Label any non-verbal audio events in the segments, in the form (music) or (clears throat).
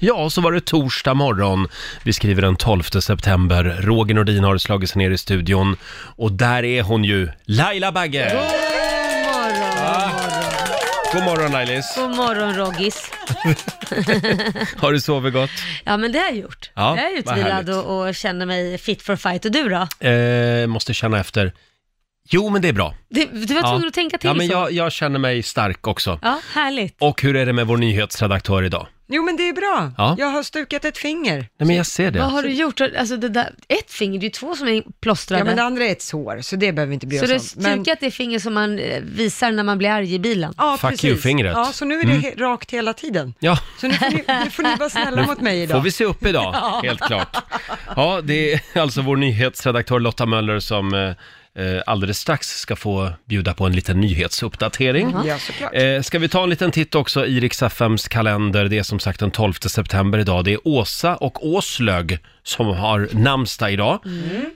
Ja, så var det torsdag morgon. Vi skriver den 12 september. Roger Nordin har slagit sig ner i studion och där är hon ju, Laila Bagge! God morgon! God morgon Lailis! God morgon Roggis. Har du sovit gott? Ja men det har jag gjort. Ja, jag är vad utvilad härligt. och, och känner mig fit for fight. Och du då? Eh, måste känna efter. Jo, men det är bra. Du, du var tvungen att tänka till Ja, men så. jag, jag känner mig stark också. Ja, härligt. Och hur är det med vår nyhetsredaktör idag? Jo men det är bra. Ja. Jag har stukat ett finger. Nej, men jag ser Vad det. har du gjort? Alltså det där, ett finger, det är ju två som är plåstrade. Ja men det andra är ett sår, så det behöver vi inte bry så du har oss om. Men- stukat det finger som man eh, visar när man blir arg i bilen? Ja, Fuck Mm. precis. you-fingret. Ja, så nu är det he- rakt hela tiden. Ja. Så nu (laughs) får ni, nu får ni vara snälla mot mig idag. Får vi se upp idag, helt klart. Ja, det är alltså vår nyhetsredaktör Lotta Möller som eh, eh, alldeles strax ska få bjuda på en liten nyhetsuppdatering. Ja, såklart. Eh, ska vi ta en liten titt också i Rix FMs kalender? Det är som sagt den 12 september idag. Det är Åsa och Åslög som har namnsdag idag.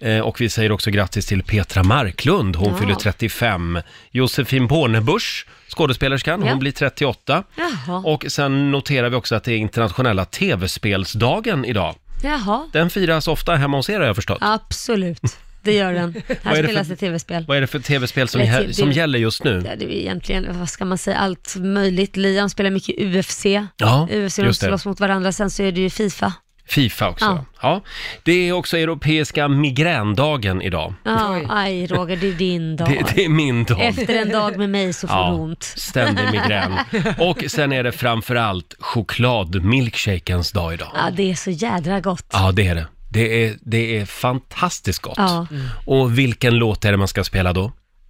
Eh, och vi säger också grattis till Petra Marklund, hon Ja. fyller 35. Josefin Bornebusch, skådespelerskan, Ja. hon blir 38. Jaha. Och sen noterar vi också att det är internationella tv-spelsdagen idag. Jaha, Den firas ofta hemma hos er har jag förstått. absolut. Det (laughs) gör den. är Här det spelas för- det tv-spel. Vad är det för tv-spel som, Eller gä- till- som till- gäller just nu? typ Ja, det är ju egentligen, vad ska man säga, allt möjligt. Liam spelar mycket UFC. Ja, UFC, de just det. slåss mot varandra. Sen så är det ju Fifa. Fifa också. Ja. Ja. Det är också europeiska migrändagen idag. Ja, Oj. aj Roger, det är din dag. Det, det är min dag. Efter en dag med mig så får Ja, du ont. ständig migrän. (laughs) Och sen är det framförallt chokladmilkshakens dag idag. Ja, det är så jädra gott. Ja, det är det. Det är, det är fantastiskt gott. Ja. Och vilken låt är det man ska spela då?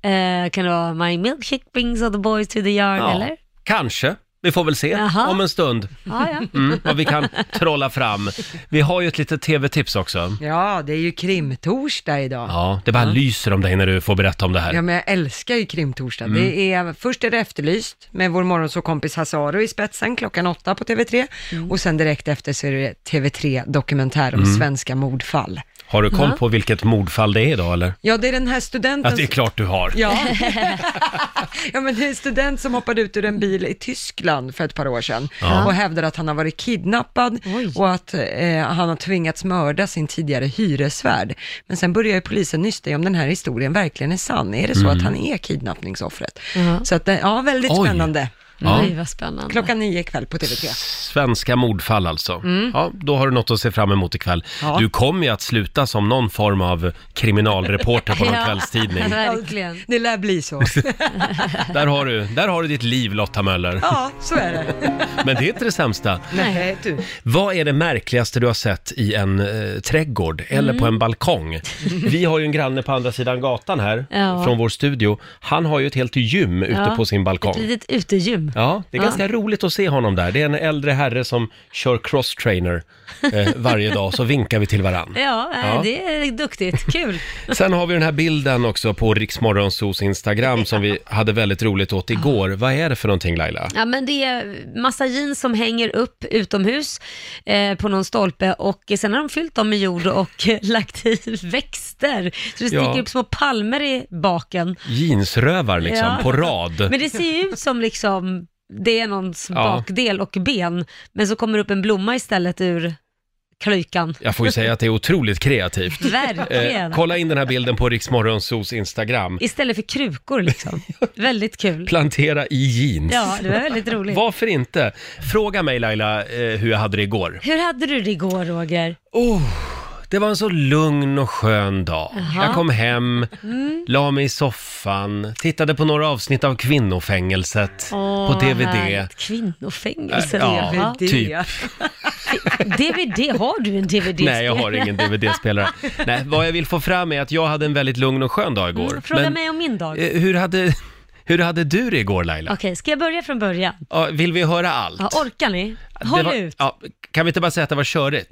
Eh, kan det vara My milkshake brings all the boys to the yard, Ja, eller? Kanske. Vi får väl se Jaha. om en stund Ja, ja. mm, vad vi kan trolla fram. Vi har ju ett litet tv-tips också. Ja, det är ju krimtorsdag idag. Ja. Ja, det bara lyser om dig när du får berätta om det Mm. här. men jag älskar ju krimtorsdag. Det är, först är det Efterlyst med vår morgonsåkompis Hasaro i spetsen klockan åtta på TV3 Mm. och sen direkt efter så är det TV3 Dokumentär Mm. om svenska mordfall. Har du koll på vilket mordfall det är idag eller? Ja, det är den här Ja, studenten Alltså, det är klart du har. Ja. (laughs) ja, men det är en student som hoppade ut ur en bil i Tyskland för ett par år sedan Ja. och hävdar att han har varit kidnappad Oj. och att eh, han har tvingats mörda sin tidigare hyresvärd. Men sen börjar ju polisen nysta i om den här historien verkligen är sann. Är det så att han är kidnappningsoffret? Ja. Så att, det- ja, väldigt Mm. Oj. spännande. Ja. Oj, vad spännande. Klockan nio ikväll på TV3. Svenska mordfall alltså. Ja, då har du något att se fram emot ikväll. Ja. Du kommer ju att sluta som någon form av kriminalreporter på någon Ja. kvällstidning. (laughs) Verkligen. Det lär (laughs) bli så. Där har du, där har du ditt liv Lotta (laughs) Möller. Ja, så är det. Men det är inte det sämsta. Nej, du. Vad är det märkligaste du har sett i en eh, trädgård eller på en Mm. balkong? Vi har ju en granne på andra sidan gatan här (laughs) Ja. från vår studio. Han har ju ett helt gym ute Ja, på sin balkong. Ett litet utegym. Ja, det är ganska roligt att se honom där. Det är en äldre herre som kör cross-trainer eh, varje dag, så vinkar vi till varann. Ja, eh, Ja. det är (laughs) duktigt. Kul. Sen har vi den här bilden också på Riksmorgonsos Instagram som vi hade väldigt roligt åt igår. Ah. Vad är det för någonting Laila? Ja, men det är massa jeans som hänger upp utomhus eh, på någon stolpe och sen har de fyllt dem med jord och (laughs) lagt i växter. Så det sticker Ja. upp små palmer i baken. Jeansrövar liksom, Ja. på rad. Men det ser ju ut som liksom, det är någons Ja. bakdel och ben, men så kommer det upp en blomma istället ur klykan. Jag får ju säga att det är otroligt kreativt. Eh, Verkligen. kolla in den här bilden på Riksmorgonsos Instagram. Istället för krukor liksom. Väldigt kul. Plantera i jeans. Ja, det var väldigt roligt. Varför inte? Fråga mig Laila eh, hur jag hade det igår. Hur hade du det igår Roger? Oh, det var en så lugn och skön dag. Jaha. Mm. Jag kom hem, la mig i soffan, tittade på några avsnitt av Kvinnofängelset Åh, på DVD. härligt. Kvinnofängelse. Äh, ja. Eva. Typ. DVD, har du en DVD? Nej, jag har ingen DVD-spelare. Nej, vad jag vill få fram är att jag hade en väldigt lugn och skön dag igår. Mm, Fråga Men, mig om min dag. eh, hur, hade, hur hade du det igår Laila? Okej, ska jag börja från början? Ja, Vill vi höra allt? Ja, orkar ni? Det Håll var- ut. Ja, kan vi inte bara säga att det var körigt?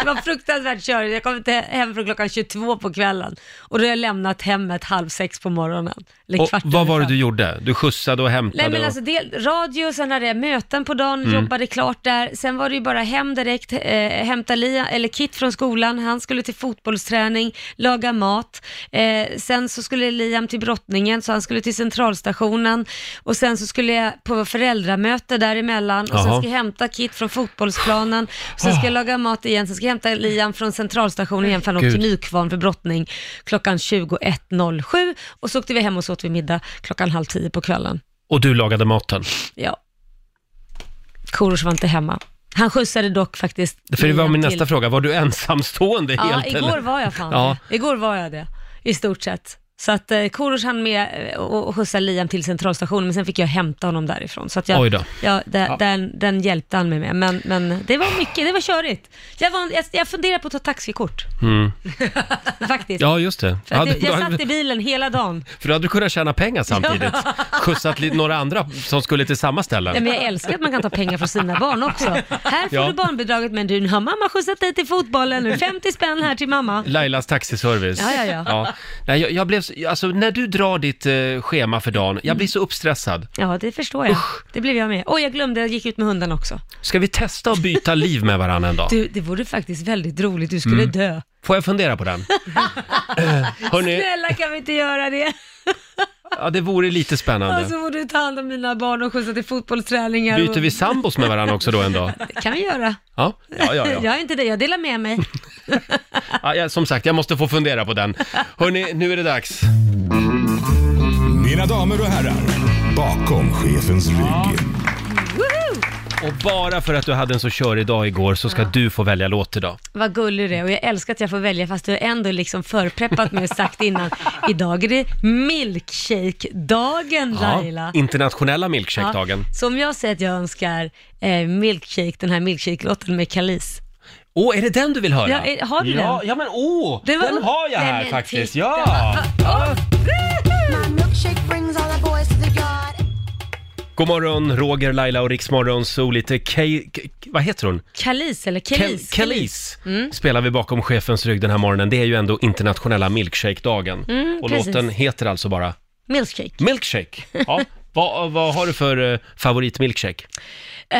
Det var fruktansvärt körigt. Jag kom inte hem från klockan 22 på kvällen och då har jag lämnat hemmet halv sex på morgonen. Eller Och kvart vad över var det fem. du gjorde? Du skjutsade och hämtade? Nej men och- Mm. alltså del, radio, sen hade jag möten på dagen, jobbade klart där. Sen var det ju bara hem direkt, eh, hämta Lia, eller Kit från skolan, han skulle till fotbollsträning, laga mat. Eh, sen så skulle Liam till brottningen, så han skulle till centralstationen. Och sen så skulle jag på föräldramöte däremellan och sen Jaha. Ah. ska jag hämta Kit från fotbollsplanen. Och sen ska jag laga mat igen, sen ska jag hämta Liam från centralstationen igen för han åkte Gud. till Nykvarn för brottning klockan 21.07. Och så åkte vi hem och så åt vi middag klockan halv tio på kvällen. Och du lagade maten? Ja. Korosh var inte hemma. Han skjutsade dock faktiskt. För det var Liam min till- nästa fråga, var du ensamstående Ja, helt? igår eller? var jag fan Ja. det. Igår var jag det, i stort sett. Så att eh, Korosh hann med eh, och och skjutsa Liam till centralstationen, men sen fick jag hämta honom därifrån. Så att jag, Oj då. Ja, det- Den, den hjälpte han mig med, men, men det var mycket, det var körigt. Jag, var, jag, jag funderar på att ta taxikort. (laughs) Faktiskt. Mm. Ja, just det. För att Hade- det- jag då hade- satt i bilen hela dagen. För då hade du kunnat tjäna pengar samtidigt. Skjutsat lite- några andra som skulle till samma Nej, ställen. men jag älskar att man kan ta pengar från sina barn också. Här får Ja. du barnbidraget men du, nu har mamma skjutsat dig till fotbollen nu. 50 spänn här till mamma. Lailas taxiservice. Ja, ja, ja. Nej, jag, jag blev, så- alltså när du drar ditt eh, schema för dagen, jag blir så uppstressad. Ja, det förstår jag. Det blev jag med. Och jag glömde, jag gick ut med hunden också. Ska vi testa att byta liv med varandra en dag? Du, det vore faktiskt väldigt roligt. Du skulle Mm. dö. Får jag fundera på den? Eh, Hörni, Snälla kan vi inte göra det? ja, det vore lite Och spännande. så får du ta hand om mina barn och skjutsa till fotbollsträningar. och- Byter vi sambos med varandra också då en dag? Det kan vi göra. Ja, ja, ja. ja. (laughs) Jag är inte det, jag delar med mig. ja jag, som sagt, jag måste få fundera på den. Hörni, nu är det dags. Mina damer och herrar, bakom chefens rygg. Woohoo! Och bara för att du hade en så körig dag igår så ska du få välja låt idag. Vad gullig du är och jag älskar att jag får välja fast du har ändå liksom förpreppat mig och sagt innan, idag är det milkshake-dagen Laila. internationella milkshake-dagen. Ja, så om jag säger att jag önskar eh, milkshake, den här milkshake-låten med Kalis. Åh, är det den du vill höra? Ja, är- har du ja, den? Ja, men åh! Det var- Den har jag Nej, här men faktiskt. titta. Ja! ja. My milkshake brings all the boys to the yard. God morgon, Roger, Laila och Riksmorgon, så lite Kay... K- vad heter hon? Kalis eller Kel- Kelis? Mm. Kelis spelar vi bakom chefens rygg den här morgonen. Det är ju ändå internationella milkshake-dagen. och Mm, precis. låten heter alltså bara Milkshake. Milkshake. (laughs) Ja. Vad, vad har du för eh, favoritmilkshake? Eh,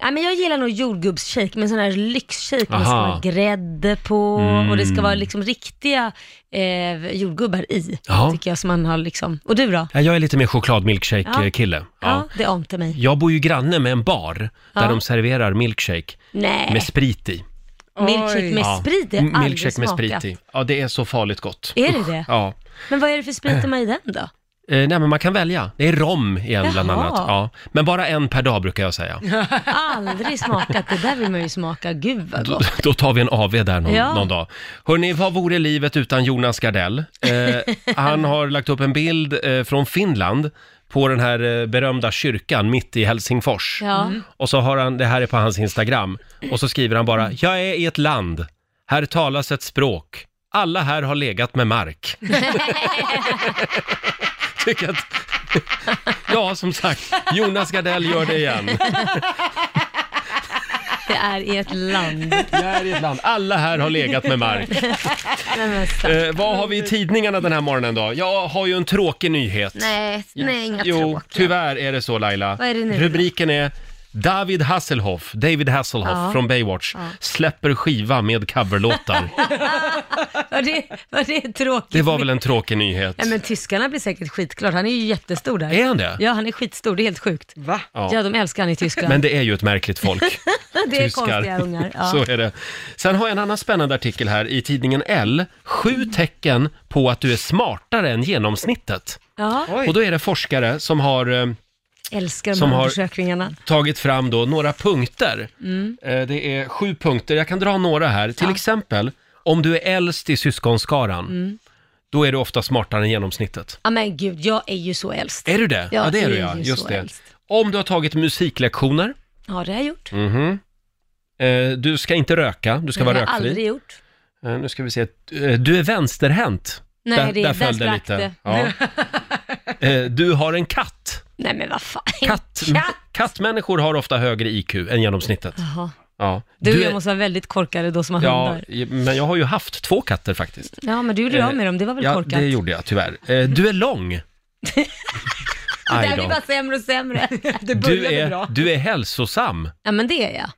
ja, men jag gillar nog jordgubbsshake, men sån här lyxshake. Det ska Aha. Mm. vara grädde på och det ska vara liksom riktiga eh, jordgubbar i. Ja. Tycker jag som man har liksom. Och du då? Ja, Jag är lite mer chokladmilkshake-kille. Ja, det ante mig. Jag bor ju granne med en bar där Ja. de serverar milkshake Nej, med sprit i. milkshake Oj. med Ja. sprit, det har jag M- aldrig Milkshake med smakat. sprit i. Ja, det är så farligt gott. Är det det? Ja. Men vad är det för sprit de har i den då? Eh, nej, men man kan välja. Det är rom igen bland Jaha. annat. Ja. Men bara en per dag brukar jag säga. Aldrig smakat, det där vill man ju smaka. Gud vad Då, (laughs) gott. (laughs) då tar vi en AV där någon, Ja. någon dag. Hörni, vad vore livet utan Jonas Gardell? Eh, (laughs) han har lagt upp en bild eh, från Finland på den här eh, berömda kyrkan mitt i Helsingfors. Ja. Och så har han, det här är på hans Instagram, och så skriver han bara “Jag är i ett land, här talas ett språk, alla här har legat med mark”. Tycker att... Ja, som sagt, Jonas Gardell gör det igen. Det är i ett land. Jag är i ett land, alla här har legat med mark. (laughs) Nej, men stack- Eh, vad har vi i tidningarna den här morgonen då? Jag har ju en tråkig nyhet. nej, nej, inga jo, tråkiga. tyvärr är det så Laila. Vad är det nu då? Rubriken är David Hasselhoff, David Hasselhoff Ja. från Baywatch, släpper skiva med coverlåtar. Var det, var det tråkigt? Det var väl en tråkig nyhet? Nej, men tyskarna blir säkert skitglada. Han är ju jättestor där. Är han det? Ja, han är skitstor. Det är helt sjukt. Va? Ja. Ja, de älskar han i Tyskland. Men det är ju ett märkligt folk. (laughs) det är konstiga ungar. Ja. Så är det. Sen har jag en annan spännande artikel här i tidningen L. Sju tecken på att du är smartare än genomsnittet. ja, Och då är det forskare som har eh, älskar de Som här har- undersökningarna. tagit fram då några punkter. Mm. Eh, Det är sju punkter, jag kan dra några här. Till exempel, om du är äldst i syskonskaran, Mm. då är du ofta smartare än genomsnittet. Ja, men gud, jag är ju så äldst. Är du det? Jag det är du är ja, ju just så det. äldst. Om du har tagit musiklektioner, Ja, det har jag gjort. mhm. Eh, du ska inte röka, du ska det har vara jag rökfri. aldrig gjort. Eh, nu ska vi se, eh, du är vänsterhänt. Nej, det, där, föll sprack (laughs) det. Ja. Eh, du har en katt. Nej, men vad fan. Katt, (laughs) Katt. Kattmänniskor har ofta högre IQ än genomsnittet. Jaha. Ja. Du och jag måste vara väldigt korkade då som har ja, hundar. men jag har ju haft två katter faktiskt. Ja, men du gjorde ju av Eh, med dem, det var väl Ja, korkat? det gjorde jag tyvärr. Eh, Du är (laughs) lång. Det Aj där blir då. bara sämre och sämre. Det Du började är, bra. du är hälsosam. Ja, men det är jag.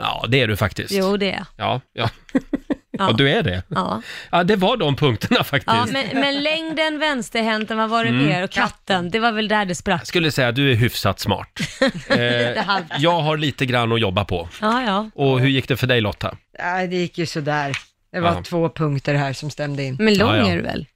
Ja, det är du faktiskt. Jo, det är jag. Ja, ja. ja (laughs) Ja. du är det. Ja. Ja, det var de punkterna Ja, faktiskt. men, men längden, vänsterhänden, vad var det Mm. mer? Och katten, det var väl där det sprack. Jag skulle säga att du är hyfsat smart. (laughs) Eh, halvt. jag har lite grann att jobba på. Ja, ja. Och hur gick det för dig Lotta? Nej, det gick ju sådär. Det var Ja. två punkter här som stämde in. Men lång Ja, ja. är du väl?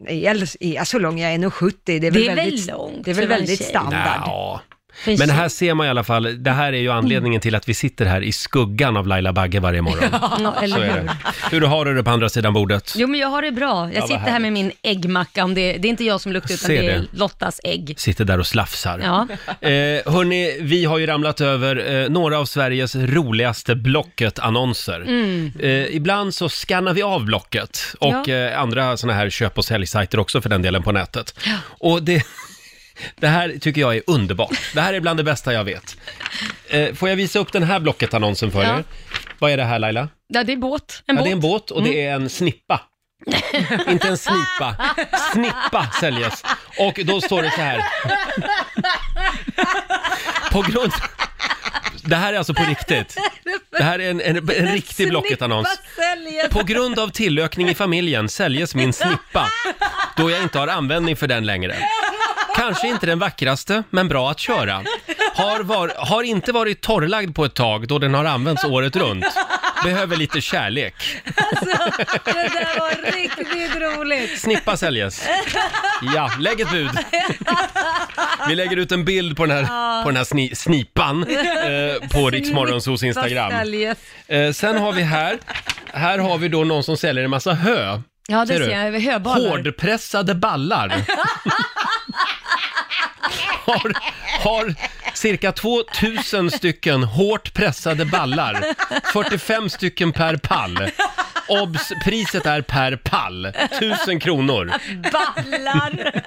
Nej, eller- ja, så lång jag är, 1,70. Det är väl Det är väl väldigt, långt Det är väl för en väldigt tjej. standard. Nja. För en Men tjej. här ser man i alla fall, det här är ju anledningen till att vi sitter här i skuggan av Laila Bagge varje morgon. (laughs) Ja, Så eller är hur? det. Hur har du det på andra sidan bordet? Jo, men jag har det bra. Jag vad sitter här med min äggmacka. Om det, det är inte jag som luktar, utan Ser det är det. Lottas ägg. Sitter där och slafsar. Ja. Eh, hörni, vi har ju ramlat över eh, några av Sveriges roligaste Blocket-annonser. Eh, ibland så skannar vi av Blocket och Mm. Ja. eh, andra såna här köp och säljsajter också för den delen på nätet. Och det, (laughs) det här tycker jag är underbart. Det här är bland det bästa jag vet. Eh, får jag visa upp den här Blocket-annonsen för Ja. er? Vad är det här Laila? ja, det är båt. En ja, båt. det är en båt Mm. och det är en (laughs) snippa. Inte en snipa. Snippa säljes. Och då står det så här. På grund... Det här är alltså på riktigt. Det här är en, en, en riktig Blocket-annons. På grund av tillökning i familjen säljes min snippa då jag inte har användning för den längre. Kanske inte den vackraste, men bra att köra. Har, var, har inte varit torrlagd på ett tag då den har använts året runt. Behöver lite kärlek. (laughs) Det där var riktigt roligt. Snippa säljes. Ja, lägg ett bud. Vi lägger ut en bild på den här, på den här sni, snipan eh, på Riksmorgonsos Instagram. Säljes. Eh, sen har vi här, här har vi då någon som säljer en massa hö. Ja, det Ser ser, du? jag. Höbalar. Hårdpressade ballar. har, har cirka 2000 stycken hårt pressade ballar. 45 stycken per pall. Obs! Priset är per pall. 1000 kronor. (laughs) Ballar.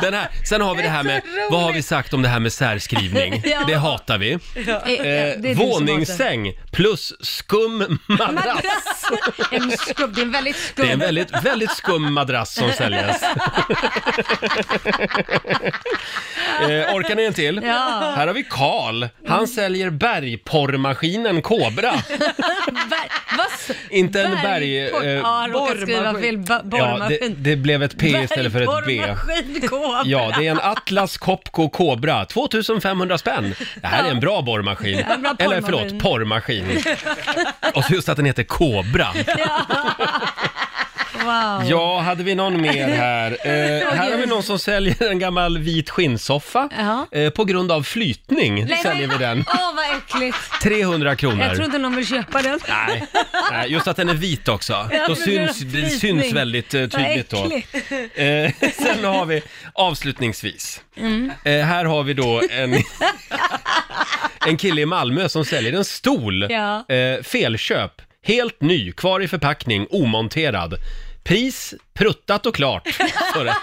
Den här, sen har vi det här med, vad har vi sagt om det här med särskrivning? Ja. Det hatar vi. Eh, våningssäng plus skum madrass. En skubb, det är en väldigt skubb. Det är en väldigt, väldigt skum madrass som (laughs) säljs. eh, orkar ni en till? Ja. Mm. Här har vi Karl. Han säljer bergporrmaskinen Kobra. Ber- vad s- Inte en berg... Bergport. eh, ja, råkade skriva fel. Ba- ja, det, borrmaskin. det blev ett P istället för ett B. Bergborrmaskin, kobra. Ja, det är en Atlas Copco Cobra, 2500 spänn. Det här är en bra borrmaskin. en bra Eller porrmaskin. förlåt, porrmaskin. Och så just att den heter Cobra. Wow. Ja, hade vi någon mer här? (laughs) Eh, här har vi någon som säljer en gammal vit skinnsoffa. Ja. Eh, på grund av flytning Nej, säljer vi men- den. Åh, vad äckligt. 300 kronor. Jag tror inte någon vill köpa den. Nej, nej, just att den är vit också. Ja, Då på grund av syns, det flytning. syns väldigt eh, tydligt då. Vad äckligt. Eh, sen har vi avslutningsvis. Eh, här har vi då en, en kille i Malmö som säljer en stol. Ja. Eh, felköp, helt ny, kvar i förpackning, omonterad. Pris, pruttat och klart. står det.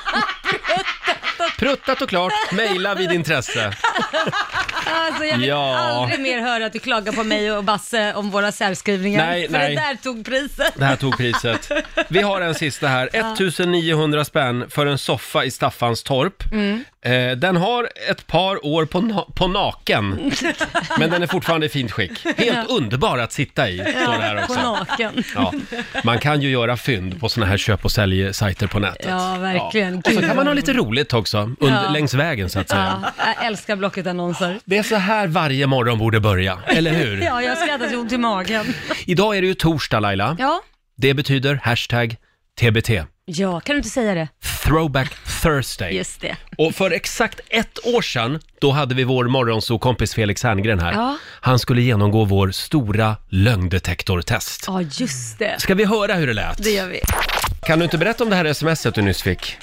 (laughs) Pruttat och klart, mejla vid intresse. Alltså, jag vill Ja. aldrig mer höra att du klagar på mig och Basse om våra särskrivningar. Nej, för nej. det där tog priset. Det här tog priset. Vi har en sista här. 1900 spänn för en soffa i Staffanstorp. Mm. Eh, den har ett par år på, na- på (laughs) naken, men den är fortfarande i fint skick. Helt underbar att sitta i, står det här På också. naken. Ja. Man kan ju göra fynd på såna här köp och sälj-sajter på nätet. Ja, verkligen. Och så Gud, kan man vad ha lite roligt också, under, Ja. längs vägen så att säga. Ja, jag älskar Blocket-annonser. Det är så här varje morgon borde börja, eller hur? Ja, jag skrattar till ont i magen. Idag är det ju torsdag Laila. Ja. Det betyder hashtag TBT. ja, kan du inte säga det? Throwback Thursday. Just det. Och för exakt ett år sedan, då hade vi vår morgonsokompis Felix Herngren här. Ja. Han skulle genomgå vår stora lögndetektortest. Ja, just det. Ska vi höra hur det lät? Det gör vi. Kan du inte berätta om det här smset du nyss fick?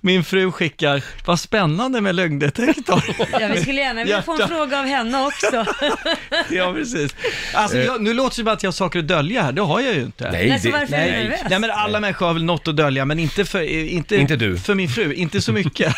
Min fru skickar, vad spännande med lögndetektor. (laughs) Ja, vi skulle gärna vilja få en Hjärta. fråga av henne också. ja, precis. Alltså, jag, nu låter det bara att jag har saker att dölja här, det har jag ju inte. Nej, Alltså, det, varför är du nervös? Nej men alla människor har väl något att dölja, men inte för, eh, inte, Inte du. för min fru, inte (laughs) så mycket.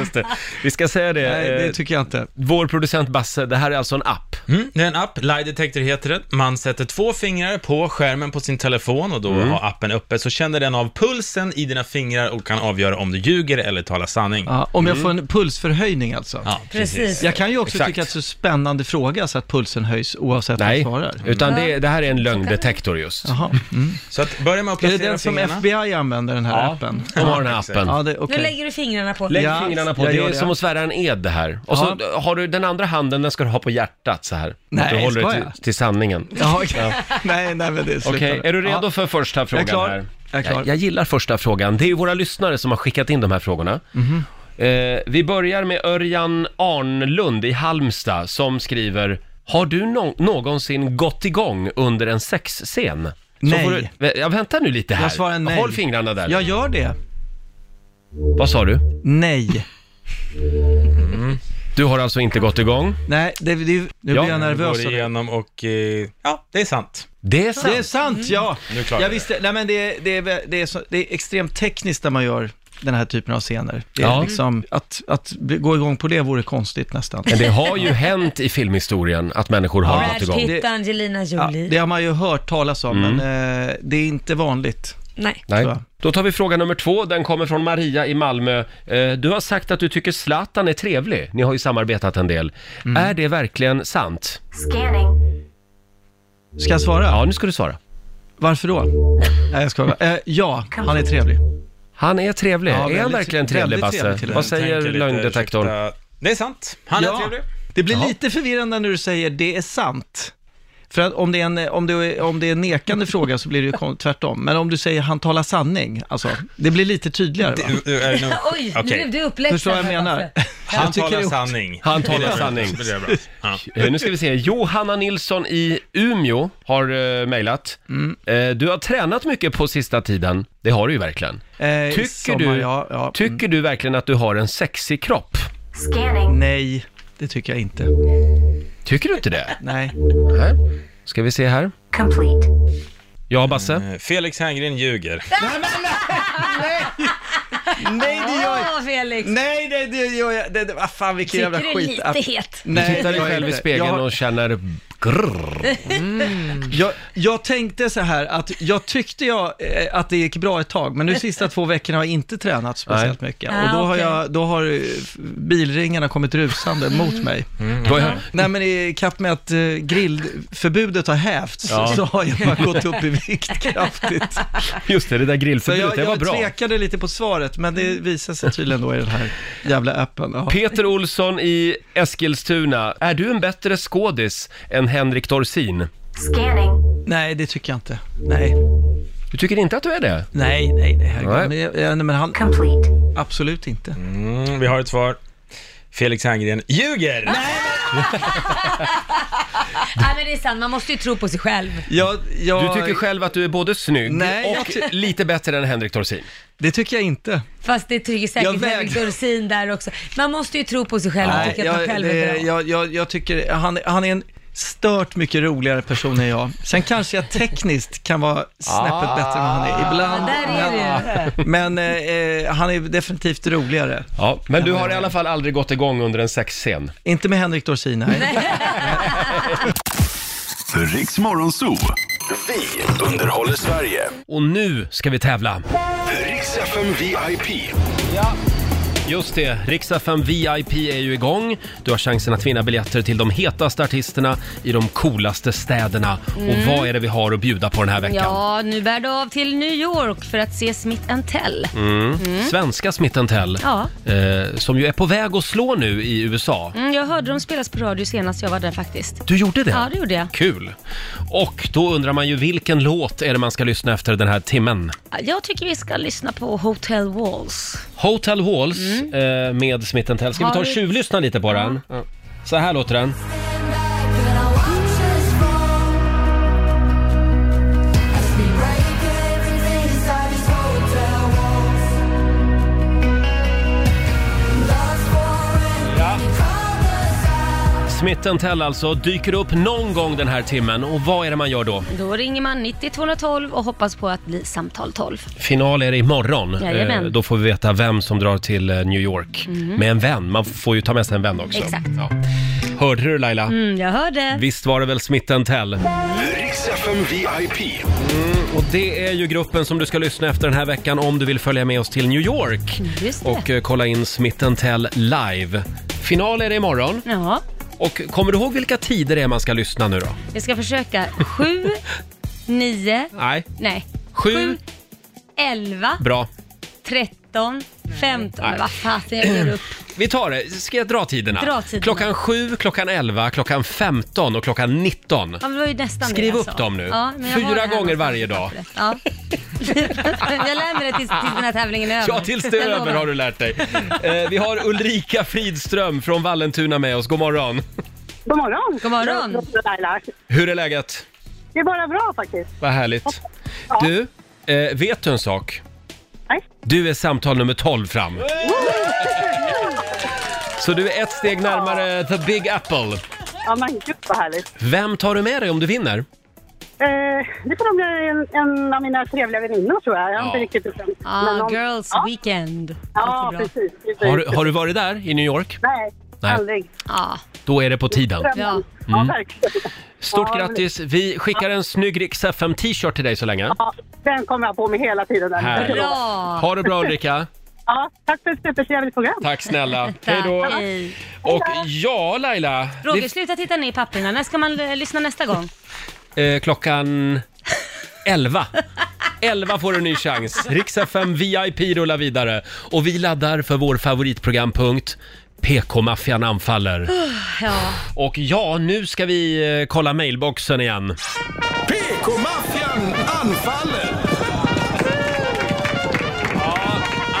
just det. Vi ska säga det. Nej, det eh, tycker jag inte. Vår producent Basse, det här är alltså en app. Mm, det är en app, Lie Detector heter den. Man sätter två fingrar på skärmen på sin telefon och då Mm. har appen uppe, så känner den av pulsen i dina fingrar och kan avgöra om du ljuger eller talar sanning. Ja, om jag får en pulsförhöjning alltså. Ja, Precis. Jag kan ju också Mm. Exakt. tycka att det är så spännande fråga så att pulsen höjs oavsett vad jag Nej, svarar. utan det, det här är en lögndetektor just. Jaha. Mm. Så att börja med Är att det placera den som fingrarna. FBI använder, den här appen? De har den här appen. Ja, det, Nu okay. lägger du fingrarna på. Lägg Ja, fingrarna på, jag det gör är det. som att svära en ed det här. Och så har du den andra handen, den ska du ha på hjärtat så här. Nej, du håller ska det jag? till, till sanningen. Ja, okej. (laughs) Nej, nej men det slutar. Okej, är du redo Ja. för första frågan Jag är klar. här? Jag är klar. jag gillar första frågan. Det är ju våra lyssnare som har skickat in de här frågorna. Mhm. Eh, vi börjar med Örjan Arnlund i Halmstad som skriver har du nå- någonsin gått igång under en sexscen? Nej. Så får du, Vä- ja, vänta nu lite här. Jag svarar nej. Håll fingrarna där. Jag gör det. Vad sa du? Nej. Du har alltså inte gått igång? Nej, det, det, nu Ja, blir jag Du nervös. går av det. igenom och... eh, Ja, det är sant. Det Mm. är sant. Det är sant, ja. Nu klarar Jag vi visste, nej men det, det, är, det, är så, det är extremt tekniskt när man gör den här typen av scener. Det är Ja. liksom, att, att bli- gå igång på det vore konstigt nästan. Men det har ju hänt i filmhistorien att människor har Ja. gått Brad igång. Pitt och Angelina Ja, Jolie. det har man ju hört talas om, Mm. men eh, det är inte vanligt. Nej. Nej. Så. Då tar vi fråga nummer två. Den kommer från Maria i Malmö. Eh, Du har sagt att du tycker Zlatan är trevlig. Ni har ju samarbetat en del. Mm. Är det verkligen sant? Scanning. Ska jag svara? Ja, nu ska du svara. Varför då? Nej, jag skojar. Eh, ja, han är trevlig. Han är trevlig. Ja, är han väldigt- verkligen trevlig, väldigt Basse? trevlig till Vad den. säger Tänker lite, lögndetektorn? ursäkta. Det är sant. Han är Ja. trevlig. Det blir lite förvirrande när du säger det är sant. För att om det är en, om det är, om det är (laughs) en nekande fråga så blir det ju kon- tvärtom. Men om du säger han talar sanning, alltså, det blir lite tydligare. Va? Du- du (laughs) är nog- (laughs) Oj, nu Okej. blev du uppläxad. Förstår vad jag här, menar? Basse. Han (laughs) Jag tycker talar det är- sanning. Han talar Det är bra. sanning. Det är bra. Ja. Eh, Nu ska vi se. Johanna Nilsson i Umeå har uh, mejlat. Mm. Eh, du har tränat mycket på sista tiden. Det har du ju verkligen. Eh, Tycker, sommar, du, Ja, ja. tycker du verkligen att du har en sexig kropp? Scanning. Nej, det tycker jag inte. Tycker du inte det? Nej. Nej. Ska vi se här. Complete. Ja, Basse? Eh, Felix Herngren ljuger. Nej, det gör jag Åh, Felix. Nej, det, det gör jag det, det, ah, Fan, vilken Tycker jävla du är skit. Alltså- lite het? Du Nej, tittar dig jag är själv i inte. spegeln jag, har- och känner grrr. Jag, jag tänkte så här att jag tyckte jag, eh, att det gick bra ett tag, men nu sista två veckorna har jag inte tränat speciellt mycket. Ah, Och då har, okej. Mm. jag, då har eh, f- bilringarna kommit rusande mot mig. Du har- Nej men i kapp med att eh, grillförbudet har hävts Ja. så har jag bara gått upp i (laughs) vikt kraftigt. Just det, det där Så grillförbudet, jag, det var jag bra. tvekade lite på svaret, men det Mm. visar sig tydligen då i den här jävla appen. Ja. Peter Olsson i Eskilstuna, är du en bättre skådis än Henrik Dorsin? Scanning. Nej, det tycker jag inte. Nej, Du tycker inte att du är det? nej, nej, nej, herregud. Nej. Men, jag- jag- nej men han, Complete. absolut inte. Mm, vi har ett svar. Felix Herngren ljuger! Nej, men det är sant. Man måste ju tro på sig själv. Jag, jag, Du tycker själv att du är både snygg Nej, jag och ty- lite bättre än Henrik Dorsin. Det tycker jag inte. Fast det tycker säkert Jag väg- Henrik Dorsin där också. Man måste ju tro på sig själv och Nej, tycka att man jag, själv är det, bra. jag, jag, jag tycker han, han är en stört mycket roligare person än jag. Sen kanske jag tekniskt kan vara snäppet bättre än vad han är ibland. Ja, där är men men eh, eh, han är definitivt roligare. Ja, men du har i alla fall aldrig gått igång under en sexscen. Inte med Henrik Dorsin, nej. Riks Morgonzoo. Vi underhåller Sverige. Och nu ska vi tävla. Riks FM VIP. Just det, Riksdagen VIP är ju igång. Du har chansen att vinna biljetter till de hetaste artisterna i de coolaste städerna. Och vad är det vi har att bjuda på den här veckan? Mm. Ja, nu bär du av till New York för att se Smith Tell. Mm. Mm. Svenska Smith Tell, Mm. Ja. eh, som ju är på väg att slå nu i USA. Mm, jag hörde dem spelas på radio senast jag var där faktiskt. Du gjorde det? Ja, det gjorde jag. Kul! Och då undrar man ju vilken låt är det man ska lyssna efter den här timmen? Jag tycker vi ska lyssna på Hotel Walls. Hotel Halls eh, med Smith Tell. Ska vi Mm. ta och Har vi- tjuvlyssna lite på den? Så här låter den. Stand back and I watch us fall. As we Smith Tell alltså dyker upp någon gång den här timmen och vad är det man gör då? Då ringer man 90 212 och hoppas på att bli samtal 12. Final är det imorgon. Jajamän. Mhm. Eh, Då får vi veta vem som drar till eh, New York med en vän. Man får ju ta med sig en vän också. Exakt. Ja. Hörde du Laila? Mm, jag hörde. Visst var det väl Smith Tell? Riks FM VIP. Och det är ju gruppen som du ska lyssna efter den här veckan om du vill följa med oss till New York Just det. och eh, kolla in Smith Tell live. Final är det imorgon Ja, och kommer du ihåg vilka tider det är man ska lyssna nu då? jag ska försöka. 7, 9, Nej. nej. Sju. 11, Bra. 13, 15. Nej. Men Vad fasen, jag ger upp. Vi tar det. Ska jag dra tiderna? Dra tiderna. Klockan 7, klockan 11, klockan 15 och klockan 19. Ja, men det var ju nästan Skriv det jag upp sa. dem nu. Ja, men jag har det Fyra här gånger någonstans. varje dag. Ja. (laughs) jag lär mig det tills, tills den här tävlingen är över. Ja, tills det är Jag över lovar. har du lärt dig. Eh, vi har Ulrika Fridström från Vallentuna med oss. God morgon. God morgon! God morgon. Roger och Laila. Hur är läget? Det är bara bra faktiskt. Vad härligt. Du, eh, vet du en sak? Nej. Du är samtal nummer 12 fram. Så du är ett steg närmare the big apple. Ja men gud vad härligt. Vem tar du med dig om du vinner? Eh, det får nog bli en, en av mina trevliga väninnor tror jag. Jag har Ja. inte riktigt bestämt. Men Ah, någon- girls ja. weekend. Ja Alltid bra. precis. precis. Har, du- har du varit där i New York? Nej, Nej. Mm. aldrig. Ja, Då är det på tiden. Ja, ja. ja verkligen. Stort Ja, men- grattis! Vi skickar en snygg Rix FM t-shirt till dig så länge. Ja, den kommer jag på mig hela tiden. Den. Härligt. Bra. Ha det bra Ulrika! Ja, tack för ett supertrevligt program. Tack snälla! Hej Tack. då! Hej. Och ja Laila, Roger, sluta titta ner i papperna. När ska man eh, lyssna nästa gång? det, eh, klockan 11. 11 får du en ny chans. Rix FM VIP rullar vidare. Och vi laddar för vår favoritprogrampunkt PK-maffian anfaller. Ja. Och ja, nu ska vi eh, kolla mailboxen igen. PK-maffian anfaller!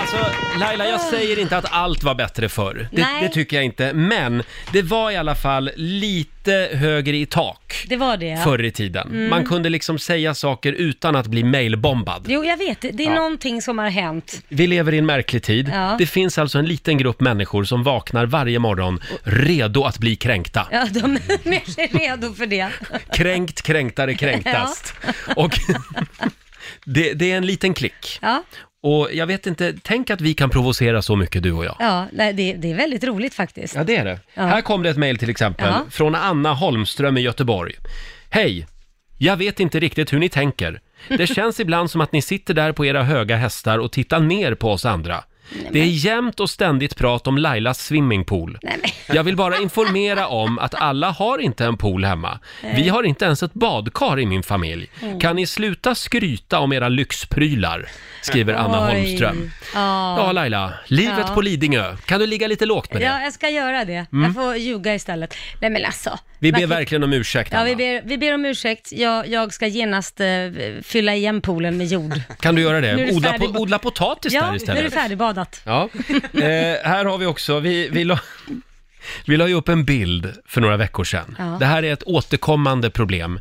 Alltså, Laila, jag säger inte att allt var bättre förr. Det, Nej. det tycker jag inte. Men det var i alla fall lite högre i tak Det var det. ja. Mm. förr i tiden. Man kunde liksom säga saker utan att bli mailbombad. Jo, jag vet. Det är någonting som har hänt. Vi lever i en märklig tid. Ja. Det finns alltså en liten grupp människor som vaknar varje morgon redo att bli kränkta. Ja, de är mer sig redo för det. Kränkt, kränktare, (laughs) kränktast. Och (laughs) det, det är en liten klick. Ja, Och jag vet inte, tänk att vi kan provocera så mycket du och jag. ja nej, det, det är väldigt roligt faktiskt. Ja, det är det. Här kom det ett mejl till exempel Ja. från Anna Holmström i Göteborg. Hej! Jag vet inte riktigt hur ni tänker. (laughs) Det känns ibland som att ni sitter där på era höga hästar och tittar ner på oss andra. Det är jämt och ständigt prat om Lailas swimmingpool. Jag vill bara informera om att alla har inte en pool hemma. Vi har inte ens ett badkar i min familj. Mm. Kan ni sluta skryta om era lyxprylar? Skriver Anna Oj. Holmström. Ja. Ja, Laila. Livet Ja. på Lidingö. Kan du ligga lite lågt med det? Mm. ja, jag ska göra det. Jag får ljuga istället. Nej, men alltså. Vi ber Man kan- verkligen om ursäkt, Ja, Anna. vi ber, vi ber om ursäkt. Jag, jag ska genast eh, fylla igen poolen med jord. Kan (laughs) du göra Nu är det? det Odla, färdig- po- odla potatis Ja, där nu är det istället. färdigbadat. Ja. Eh, här har vi också, vi, vi, la, vi la ju upp en bild för några veckor sedan. Ja. Mm. Det här är ett återkommande problem,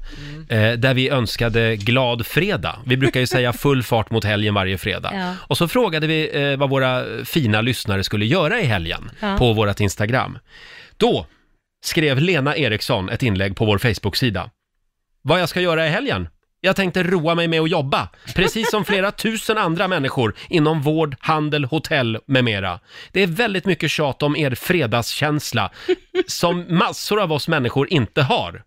eh, där vi önskade glad fredag. Vi brukar ju säga full fart mot helgen varje fredag. Ja. Och så frågade vi eh, vad våra fina lyssnare skulle göra i helgen Ja. på vårt Instagram. Då skrev Lena Eriksson ett inlägg på vår Facebook-sida. Vad jag ska göra i helgen? Jag tänkte roa mig med att jobba, precis som flera tusen andra människor inom vård, handel, hotell med mera. Det är väldigt mycket tjat om er fredagskänsla som massor av oss människor inte har.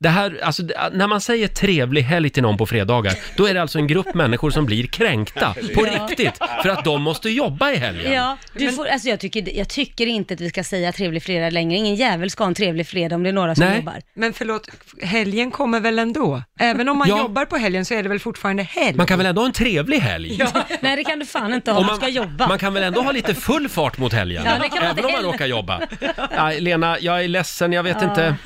Det här, alltså, det- när man säger trevlig helg till någon på fredagar, då är det alltså en grupp människor som blir kränkta på riktigt för att de måste jobba i helgen. Ja, du får, alltså jag, tycker, jag tycker inte att vi ska säga trevlig fredag längre. Ingen jävel ska ha en trevlig fredag om det är några som Nej. jobbar. (laughs) Men förlåt, helgen kommer väl ändå? Även om man Ja. jobbar på helgen så är det väl fortfarande helg? Man kan väl ändå ha en trevlig helg? Nej, det kan du fan inte ha. Och du ska jobba. man kan väl ändå ha lite full fart mot helgen? Ja, det kan man även om man heller. råkar jobba. Nej, Lena, jag är ledsen, jag vet inte.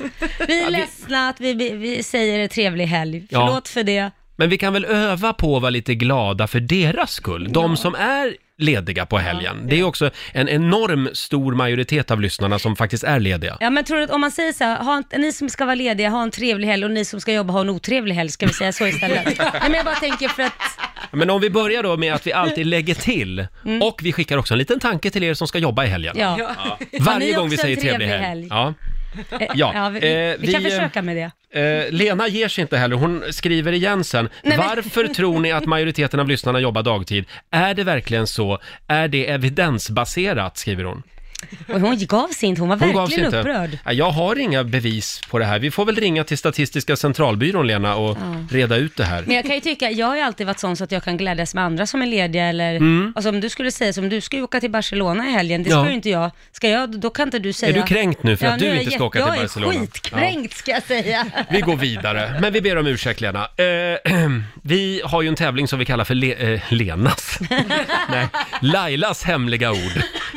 Vi är ledsna att vi, vi, vi säger trevlig helg. Ja. Förlåt för det. Men vi kan väl öva på att vara lite glada för deras skull. De som är lediga på helgen. Det är ju också en enorm stor majoritet av lyssnarna som faktiskt är lediga. Ja, men tror du att om man säger så här, ha en, ni som ska vara lediga, ha en trevlig helg och ni som ska jobba, ha en otrevlig helg, ska vi säga (laughs) så istället? Nej, men jag bara tänker för att, Men om vi börjar då med att vi alltid lägger till och vi skickar också en liten tanke till er som ska jobba i helgen. Mm. ja. Varje ni gång vi också säger en trevlig trevlig helg. helg? Ja. Eh, Ja, vi, eh, vi kan vi, eh, försöka med det. Eh, Lena ger sig inte heller, hon skriver igen sen. Nej, men- Varför tror ni att majoriteten av lyssnarna jobbar dagtid? Är det verkligen så? Är det evidensbaserat? skriver hon. Och hon gav sig inte, hon var Hon gav sig verkligen inte. upprörd. Nej, Jag har inga bevis på det här. Vi får väl ringa till Statistiska centralbyrån, Lena, och reda ut det här. Men jag kan ju tycka, jag har ju alltid varit sån så att jag kan glädjas med andra som är lediga eller, alltså om du skulle säga som du ska ju åka till Barcelona i helgen, det Mm. Ja. ska ju inte jag, ska jag, då kan inte du säga... du kränkt nu för att Ja, du är jag inte ska jätte- åka till Barcelona? Jag är skitkränkt ska jag säga. Vi går vidare, men vi ber om ursäkt Lena. Eh, (clears throat) vi har ju en tävling som vi kallar för Le- eh, Lenas. Nej, Lailas hemliga ord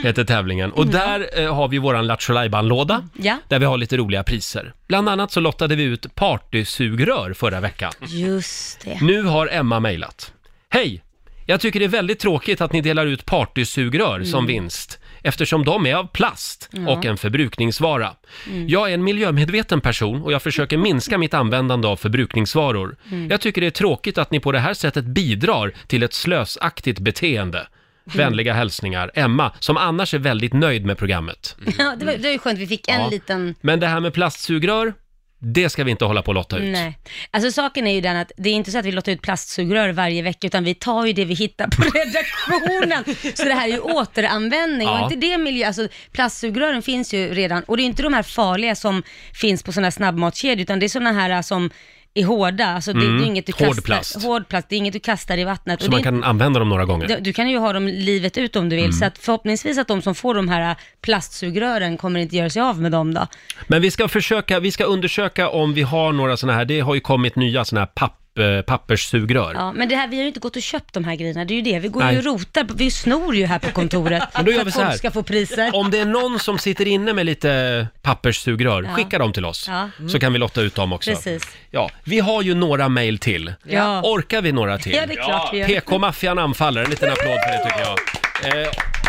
heter tävlingen. Och där eh, har vi våran Lattjo låda Ja. där vi har lite roliga priser. Bland annat så lottade vi ut partysugrör förra veckan. Just det. Nu har Emma mejlat. Hej! Jag tycker det är väldigt tråkigt att ni delar ut partysugrör Mm. som vinst eftersom de är av plast och en förbrukningsvara. Mm. Jag är en miljömedveten person och jag försöker minska mitt användande av förbrukningsvaror. Mm. Jag tycker det är tråkigt att ni på det här sättet bidrar till ett slösaktigt Mm. beteende. Vänliga hälsningar, Emma, som annars är väldigt nöjd med programmet. Ja, det, var, det var ju skönt, vi fick en Mm. Ja. liten... Men det här med plastsugrör, det ska vi inte hålla på och lotta ut. Nej. Alltså saken är ju den att det är inte så att vi låter ut plastsugrör varje vecka, utan vi tar ju det vi hittar på (laughs) redaktionen. så det här är ju återanvändning Ja. och inte det miljö... Alltså plastsugrören finns ju redan och det är inte de här farliga som finns på sådana här snabbmatskedjor, utan det är sådana här äh, som är hårda, alltså det, det är inget du Mm. Hård kastar, plast. hård plast, det är inget du kastar i vattnet. Så Och det är man kan Mm. använda dem några gånger. Du, du kan ju ha dem livet ut om du vill, så att förhoppningsvis att de som får de här äh, plastsugrören kommer inte göra sig av med dem då. Men vi ska försöka, vi ska undersöka om vi har några sådana här, det har ju kommit nya sådana här papp, eh, papperssugrör. Ja, men det här, vi har ju inte gått och köpt de här grejerna, det är ju det. Vi går Nej. ju och rotar, på- vi snor ju här på kontoret (laughs) Men då gör för vi att så här. folk ska få priser. Om det är någon som sitter inne med lite papperssugrör, skicka dem till oss. Ja. Så kan vi lotta ut dem också. Precis. Ja, vi har ju några mejl till. Ja. Orkar vi några till? Ja, det är klart vi gör. PK-maffian anfaller, en liten applåd för det tycker jag. Eh,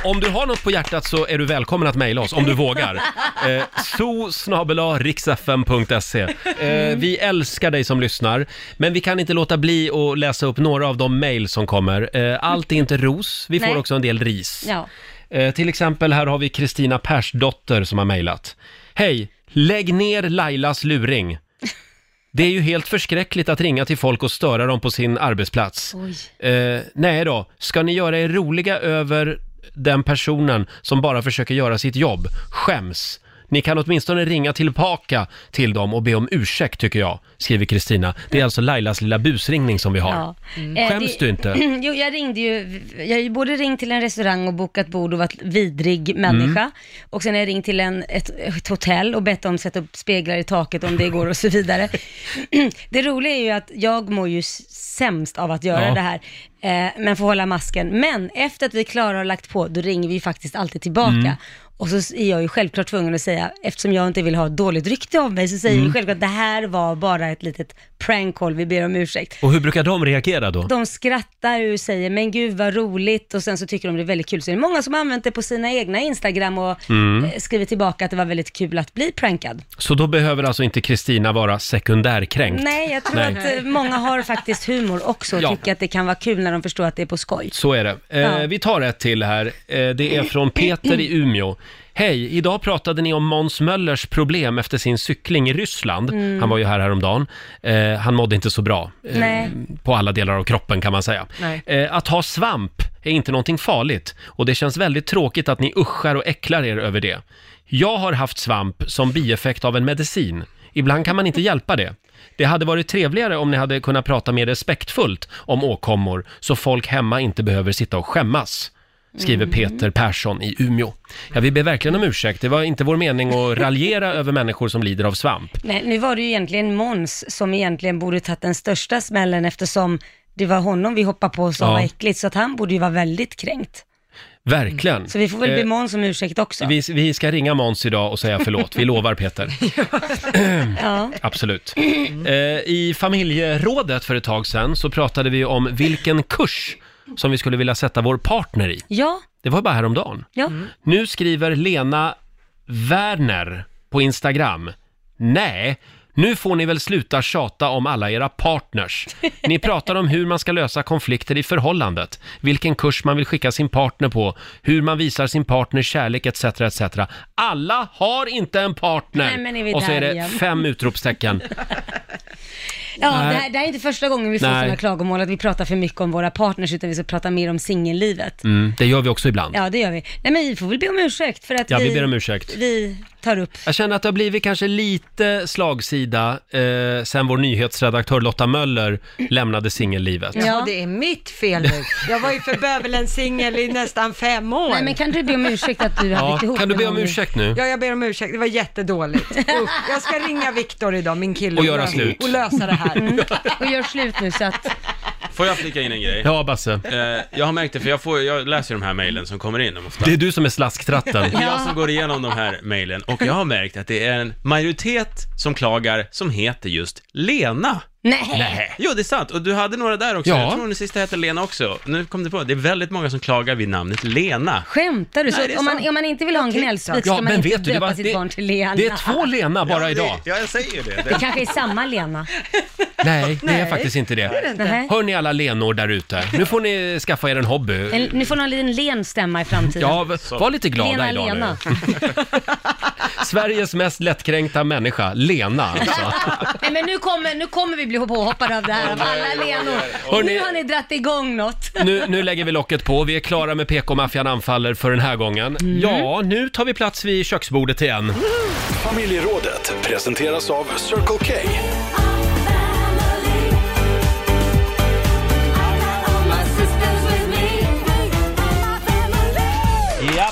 om du har något på hjärtat så är du välkommen att mejla oss, om (laughs) du vågar. Eh, so.riksfm.se eh, Vi älskar dig som lyssnar, men vi kan inte låta bli att läsa upp några av de mejl som kommer. Eh, allt är inte ros, vi får Nej. också en del ris. Ja. Eh, till exempel här har vi Kristina Persdotter som har mejlat. Hej! Lägg ner Lailas luring. Det är ju helt förskräckligt att ringa till folk och störa dem på sin arbetsplats. Oj. Eh, nej då, ska ni göra er roliga över den personen som bara försöker göra sitt jobb? Skäms! Ni kan åtminstone ringa tillbaka till dem och be om ursäkt tycker jag, skriver Kristina. Det är alltså Lailas lilla busringning som vi har. Mm. Ja. Eh, Skäms det- du inte? (clears throat) Jo, jag ringde ju, jag har ju både ringt till en restaurang och bokat bord och varit vidrig människa. Mm. Och sen har jag ringt till en, ett, ett hotell och bett dem sätta upp speglar i taket om det går och så vidare. (clears throat) det roliga är ju att jag mår ju s- sämst av att göra Ja. det här. Eh, men får hålla masken. Men efter att vi är klara och har lagt på, då ringer vi ju faktiskt alltid tillbaka. Mm. Och så är jag ju självklart tvungen att säga, eftersom jag inte vill ha dåligt rykte av mig, så Mm. säger jag ju självklart att det här var bara ett litet prank call, vi ber om ursäkt. Och hur brukar de reagera då? De skrattar och säger men gud vad roligt och sen så tycker de det är väldigt kul. Så det är många som har använt det på sina egna Instagram och Mm. eh, skriver tillbaka att det var väldigt kul att bli prankad. Så då behöver alltså inte Kristina vara sekundärkränkt? Nej, jag tror Nej. att eh, många har faktiskt humor också och Ja. tycker att det kan vara kul när de förstår att det är på skoj. Så är det. Eh, Ja. Vi tar ett till här. Eh, det är från Peter i Umeå. Hej, idag pratade ni om Måns Möllers problem efter sin cykling i Ryssland. Mm. Han var ju här häromdagen. Eh, han mådde inte så bra. eh, Nej. På alla delar av kroppen kan man säga. Nej. Eh, att ha svamp är inte någonting farligt och det känns väldigt tråkigt att ni uschar och äcklar er över det. Jag har haft svamp som bieffekt av en medicin. Ibland kan man inte hjälpa det. Det hade varit trevligare om ni hade kunnat prata mer respektfullt om åkommor så folk hemma inte behöver sitta och skämmas. Mm. Skriver Peter Persson i Umeå. Ja, vi ber verkligen om ursäkt. Det var inte vår mening att raljera (laughs) över människor som lider av svamp. Nej, nu var det ju egentligen Mons som egentligen borde tagit den största smällen eftersom det var honom vi hoppade på som Ja. var äckligt så att han borde ju vara väldigt kränkt. Verkligen. Så vi får väl Eh, be Mons om ursäkt också. Vi, vi ska ringa Måns idag och säga förlåt. Vi lovar Peter. Ja. Absolut. Eh, I familjerådet för ett tag sedan så pratade vi om vilken kurs som vi skulle vilja sätta vår partner i. Ja, Det var bara häromdagen. ja. Nu skriver Lena Werner på Instagram. Nej, Nu får ni väl sluta tjata om alla era partners. Ni pratar om hur man ska lösa konflikter i förhållandet, vilken kurs man vill skicka sin partner på, hur man visar sin partner kärlek etc. etc. Alla har inte en partner! Nej, men är vi Och så där är det igen? fem utropstecken. Ja, Nej. det här, det här är inte första gången vi får Nej. sådana klagomål att vi pratar för mycket om våra partners utan vi ska prata mer om singellivet. Mm, det gör vi också ibland. Ja, det gör vi. Nej, men vi får väl be om ursäkt för att Ja, vi, vi ber om ursäkt. vi tar upp. Jag känner att det har blivit kanske lite slagsida eh, sen vår nyhetsredaktör Lotta Möller lämnade singellivet. Ja. Ja. det är mitt fel nu. Jag var ju för bövelen singel i nästan fem år. Nej, men kan du be om ursäkt att du har Ja, blivit ihop kan du med be om honom? ursäkt nu? Ja, jag ber om ursäkt. Det var jättedåligt. Usch. Jag ska ringa Viktor idag, min kille. Och göra lö- slut. Och lösa det här. Och gör slut nu så att... Får jag flika in en grej? Ja, Basse. Eh, jag har märkt det, för jag, får, jag läser ju de här mejlen som kommer in ofta. Det är du som är slasktratten. Det är jag som går igenom de här mejlen och jag har märkt att det är en majoritet som klagar som heter just Lena. Nej. Jo, det är sant. Och du hade några där också. Ja. Jag tror den sista hette Lena också. Nu kom det på, det är väldigt många som klagar vid namnet Lena. Skämtar du? Så Nej, det är om, man, sant. om man inte vill ha en gnällspik ska Ja, man men inte vet du, det, döpa var, sitt barn det, till Lena. det är två Lena bara idag. Ja, jag säger det. Det kanske är samma Lena. Nej, det är faktiskt inte det. Nej. Hör ni alla Lenor där ute? Nu får ni skaffa er en hobby. En- Nu får någon liten len stämma i framtiden. Ja, v- var lite glada Lena, idag Lena. nu. Sveriges mest lättkränkta människa, Lena alltså. Nej, men nu kommer, nu kommer vi bli påhoppade av det här, av alla Lenor. Hörni- Nu har ni dratt igång något. Nu, nu lägger vi locket på. Vi är klara med PK-maffian anfaller för den här gången. Mm. Ja, nu tar vi plats vid köksbordet igen. Familjerådet presenteras av Circle K. Ja.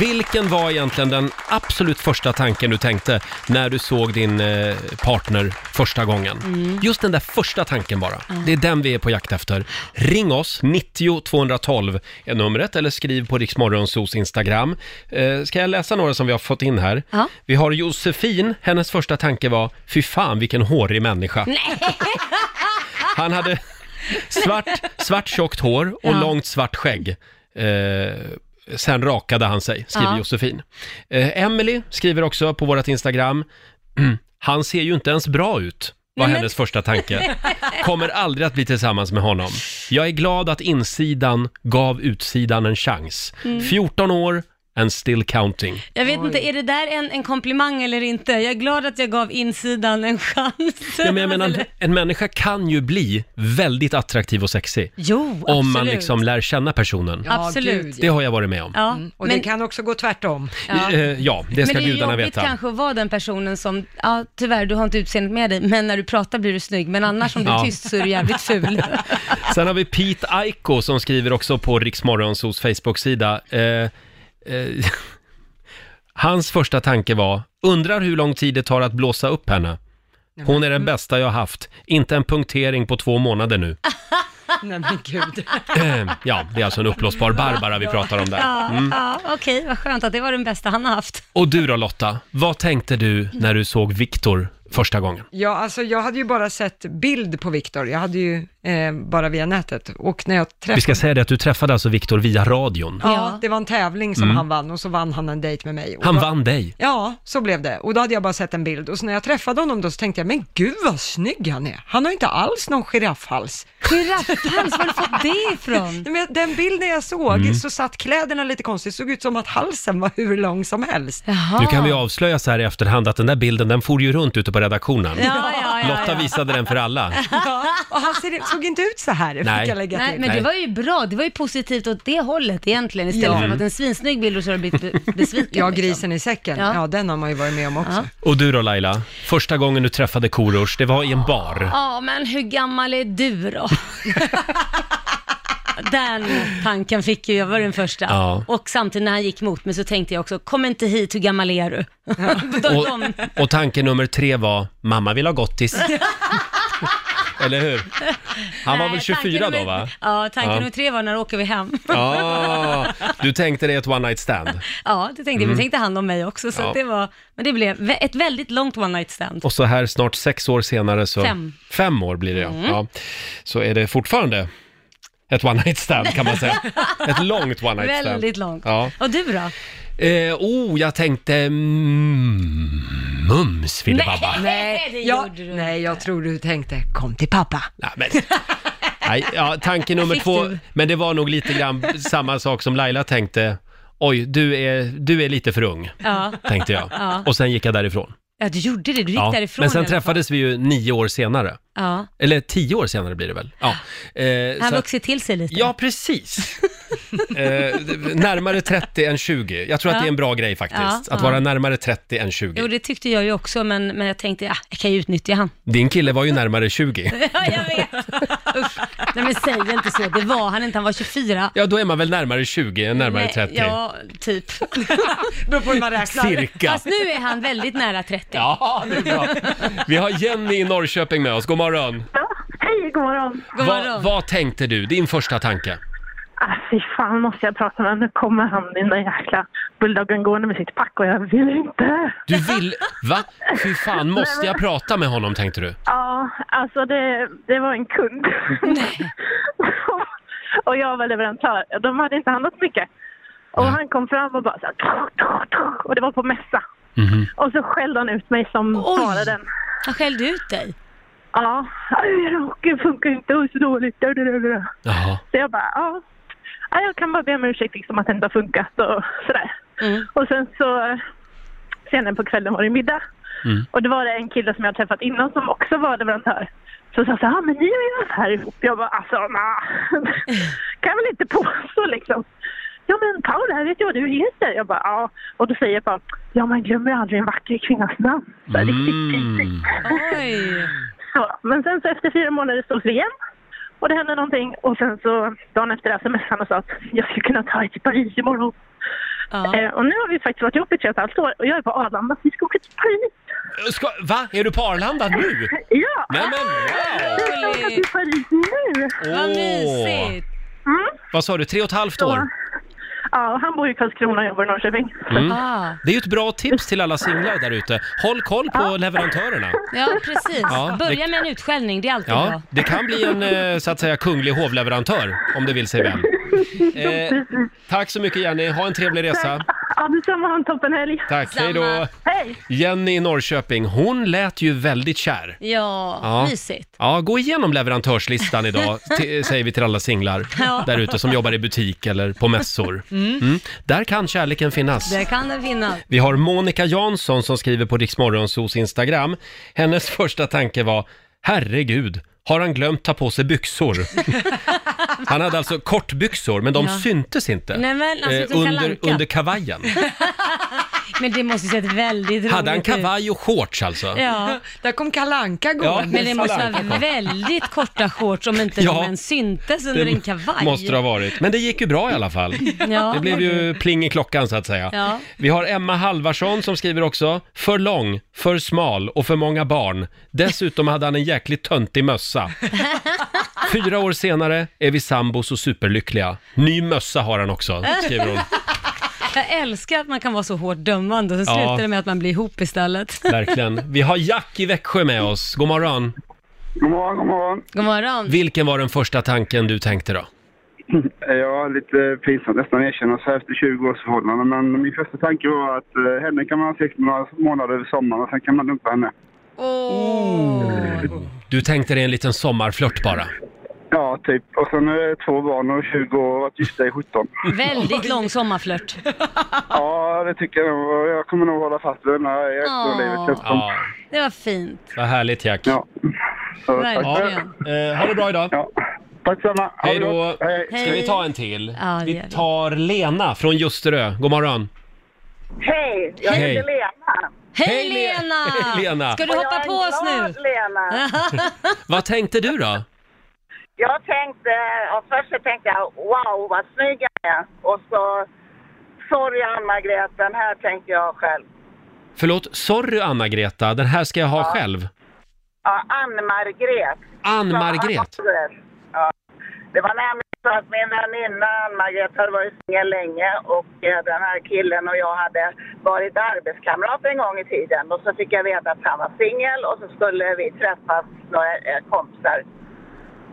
Vilken var egentligen den absolut första tanken du tänkte när du såg din eh, partner första gången? Just den där första tanken bara. Det är den vi är på jakt efter. Ring oss, 90 212 är numret, eller skriv på Riksmorgonsos Instagram. Eh, ska jag läsa några som vi har fått in här? Ja. Vi har Josefin, hennes första tanke var, fy fan vilken hårig människa. Han (laughs) hade svart, svart tjockt hår och långt svart skägg. Eh, sen rakade han sig, skriver Ja. Josefin. Eh, Emily skriver också på vårt Instagram, (clears throat) han ser ju inte ens bra ut, var hennes första tanke. Kommer aldrig att bli tillsammans med honom. Jag är glad att insidan gav utsidan en chans. Mm. 14 år, and still counting. Jag vet inte, är det där en, en komplimang eller inte? Jag är glad att jag gav insidan en chans. Ja, men (laughs) jag menar, en människa kan ju bli väldigt attraktiv och sexig. Jo, absolut. Om man liksom lär känna personen. Ja, Absolut. gud, ja. Det har jag varit med om. Ja, Mm. Och men, det kan också (laughs) gå tvärtom. ja. Eh, Ja, det men ska det är ju gudarna jobbigt veta. kanske att vara den personen som, ja tyvärr du har inte utseendet med dig, men när du pratar blir du snygg, men annars om du Ja. är tyst så är du (laughs) jävligt ful. Sen har vi Pete Aiko som skriver också på Riksmorgonsos Facebook-sida. Eh, eh, (laughs) hans första tanke var, undrar hur lång tid det tar att blåsa upp henne. Hon är den bästa jag har haft, inte en punktering på två månader (laughs) nu. Nej men gud. Ja, det är alltså en uppblåsbar Barbara vi pratar om där. Ja, ja (laughs) okej, vad skönt att det var den bästa han har haft. Och du då Lotta, vad tänkte du när du såg Viktor första gången? Ja, alltså jag hade ju bara sett bild på Viktor. Jag hade ju eh, bara via nätet. Och när jag träffade... Vi ska säga det att du träffade alltså Viktor via radion. Ja, det var en tävling som han vann och så vann han en dejt med mig. Och Mm. Han då- vann dig. Ja, så blev det. Och då hade jag bara sett en bild. Och så när jag träffade honom då så tänkte jag, men gud vad snygg han är. Han har inte alls någon giraffhals. Giraffhals, var har du fått det ifrån? Nej, Men den bilden jag såg Mm. så satt kläderna lite konstigt, såg ut som att halsen var hur lång som helst. Jaha. Nu kan vi avslöja så här i efterhand att den där bilden, den for ju runt ute på redaktionen. Ja, ja, ja, Lotta ja. visade den för alla. Ja, och han ser, såg inte ut så här, Nej. fick jag lägga Nej, till. men Nej. det var ju bra. Det var ju positivt åt det hållet egentligen. Istället för att ha fått en svinsnygg bild och så har du blivit (laughs) be- besviken. Ja, liksom. grisen i säcken, Ja. ja. den har man ju varit med om också. Och du då Laila, första gången du träffade Korosh, det var i en bar. Ja, men hur gammal är du (laughs) då? Den tanken fick ju, jag var den första. Ja. Och samtidigt när han gick mot mig så tänkte jag också, kom inte hit, hur gammal är du? (laughs) de, Och, de, och tanke nummer tre var, mamma vill ha gottis. (laughs) Eller hur? Han var Nej, väl tanken 24 då nummer- va? Ja, tanken Ja. nummer tre var när åker vi hem? (laughs) Ja, du tänkte dig ett one night stand. Ja, det tänkte jag, men tänkte han om mig också. Så Mm. Ja. att det var, men det blev vä- ett väldigt långt one night stand. Och så här snart sex år senare så... Fem. Mm. Fem år blir det ja. ja. Så är det fortfarande ett one night stand kan man (laughs) säga. Ett långt one night stand. Väldigt långt. Ja. Och du då? Eh, oh, jag tänkte... Mm, Mums ville Babba. Nej, det Ja, gjorde du nej, jag tror du tänkte, kom till pappa. Nej, men... Nej, ja, tanke nummer Fick två, du? men det var nog lite grann samma sak som Laila tänkte. Oj, du är, du är lite för ung, Ja. tänkte jag. Ja. Och sen gick jag därifrån. ja, du gjorde det. Du gick Ja, därifrån. Men sen i alla fall. träffades vi ju nio år senare. Ja. Eller tio år senare blir det väl? Ja. Eh, Han så har att- vuxit till sig lite. Ja, precis. eh, närmare 30 än 20. Jag tror att Ja. det är en bra grej faktiskt. Ja, att ja. vara närmare 30 än 20. Jo, det tyckte jag ju också, men, men jag tänkte, ja, jag kan ju (laughs) utnyttja han. Din kille var ju närmare 20. Ja, jag vet. (laughs) Usch. Nej, men säg inte så. Det var han inte. Han var 24. Ja, då är man väl närmare 20 än närmare Nej, 30. Ja, (laughs) typ. Beror på hur man räknar. Cirka. Fast nu är han väldigt nära 30. Ja, det är bra. Vi har Jenny i Norrköping med oss. God morgon. Ja, hej, god morgon. God Va, morgon. vad tänkte du? Din första tanke? Ah, fy fan måste jag prata med Nu kommer han, den där jäkla bulldoggen gående med sitt pack och jag vill inte. Du vill... Va? Fy fan, måste jag prata med honom tänkte du? Ja, alltså det, det var en kund. (laughs) och jag var leverantör. De hade inte handlat mycket. Och han kom fram och bara så här, "Tro, tro, tro." Och det var på mässa. Och så skällde han ut mig som Oj. bara den. Han skällde ut dig. Ja, "Aj, rocken funkar inte och är så dåligt. Jaha. Så jag bara, ja. ja jag kan bara be om ursäkt liksom att det inte har funkat och sådär. Och sen så eh, senare på kvällen var det middag. Och då var det en kille som jag träffat innan som också var leverantör. Så sa så här, ah, men ni är ju så här ihop. Jag bara, alltså nah. kan jag väl inte påstå liksom. Ja men Paula, jag vet ju vad du heter. Jag bara, ja. Och då säger jag bara, ja man glömmer aldrig en vacker kvinnas namn. Så här, riktigt Mm. typiskt. Oj. Så, men sen så efter fyra månader sågs vi igen och det hände någonting och sen så dagen efter det smsade han och sa att jag skulle kunna ta er till Paris imorgon. Ja. Eh, och nu har vi faktiskt varit ihop i tre och ett halvt år och jag är på Arlanda så vi ska åka till Paris. Ska, va? Är du på Arlanda nu? Ja! Nej men wow! Vi ska åka till Paris nu! Vad Åh. mysigt. Vad sa du, tre och ett halvt år? Ja, och han bor i Karlskrona och jobbar i Norrköping. Mm. Ah. Det är ju ett bra tips till alla singlar där ute. Håll koll på leverantörerna. Ja, precis. Ja, det- Börja med en utskällning. Det är alltid Ja, bra. det kan bli en eh, så att säga kunglig hovleverantör om det vill sig (laughs) väl. Eh, tack så mycket Jenny, ha en trevlig resa. Ja, detsamma. Ha en toppen helg. Tack, hej då. Samma. Hej! Jenny i Norrköping, hon lät ju väldigt kär. Ja, Ja. mysigt. Ja, gå igenom leverantörslistan (laughs) idag, t- säger vi till alla singlar Ja. där ute som jobbar i butik eller på mässor. Mm. Där kan kärleken finnas. Där kan den finnas. Vi har Monica Jansson som skriver på Riksmorgonsos Instagram. Hennes (laughs) första tanke var, herregud, har han glömt ta på sig byxor? (laughs) Han hade alltså kortbyxor, men de syntes inte. Eh, Nej, men alltså, som Kalle under, Anka. under (laughs) kavajen. Men det måste ju sett väldigt roligt Hade han ut. kavaj och shorts alltså? Ja, Där kom Kalle Anka Ja, gående. men det måste Kalle Anka. vara väldigt korta shorts om inte Ja. de ens syntes under en kavaj. måste det ha varit. Men det gick ju bra i alla (laughs) fall. Ja. Det blev ju pling i klockan så att säga. Ja. Vi har Emma Halvarsson som skriver också, för lång, för smal och för många barn. Dessutom hade han en jäkligt töntig (laughs) mössa. Fyra år senare är vi sambos och superlyckliga. Ny mössa har han också, skriver (laughs) hon. Jag älskar att man kan vara så hårt dömande och sen Ja. slutar det med att man blir ihop istället. Verkligen. Vi har Jack i Växjö med oss. God morgon. God morgon, god morgon. God morgon. Vilken var den första tanken du tänkte då? Eh, Ja, lite pinsamt nästan att erkänna så här efter 20 års förhållande. Men min första tanke var att eh, henne kan man ha sex med några månader över sommaren och sen kan man dumpa henne. Oh. Du tänkte dig en liten sommarflört bara. Ja, typ. Och sen eh, två barn och 20 år och varit gifta i 17. Väldigt lång sommarflört. Ja, det tycker jag nog. Jag kommer nog hålla fast vid den här i resten av Ja. livet. känns det som. Ja, Det var fint. vad härligt Jack. Ja. Så, tack för det. Verkligen. Eh, ha det bra idag. Ja. Tack samma. Ha Hej det då. gott. Hej. Ska vi ta en till? Ja, det vi gör vi. tar Lena från Ljusterö. God morgon. Hej! Jag Hej. heter Lena. Hej Hej, Le- Lena! (laughs) Hej, Lena. Ska du Och hoppa jag är på oss nu? glad Lena. Vad tänkte du då? Jag tänkte, och först så tänkte jag wow vad snygg jag är. Och så, sorry Anna-Greten, här tänkte jag själv. Förlåt, sorry Anna-Greta, den här ska jag ha själv. Ja, Ann-Margret. Ann-Margret. Ja. Det var nämligen så att min väninna Ann-Margret hade varit singel länge och eh, den här killen och jag hade varit arbetskamrater en gång i tiden. Och så fick jag veta att han var singel och så skulle vi träffas, några eh, kompisar.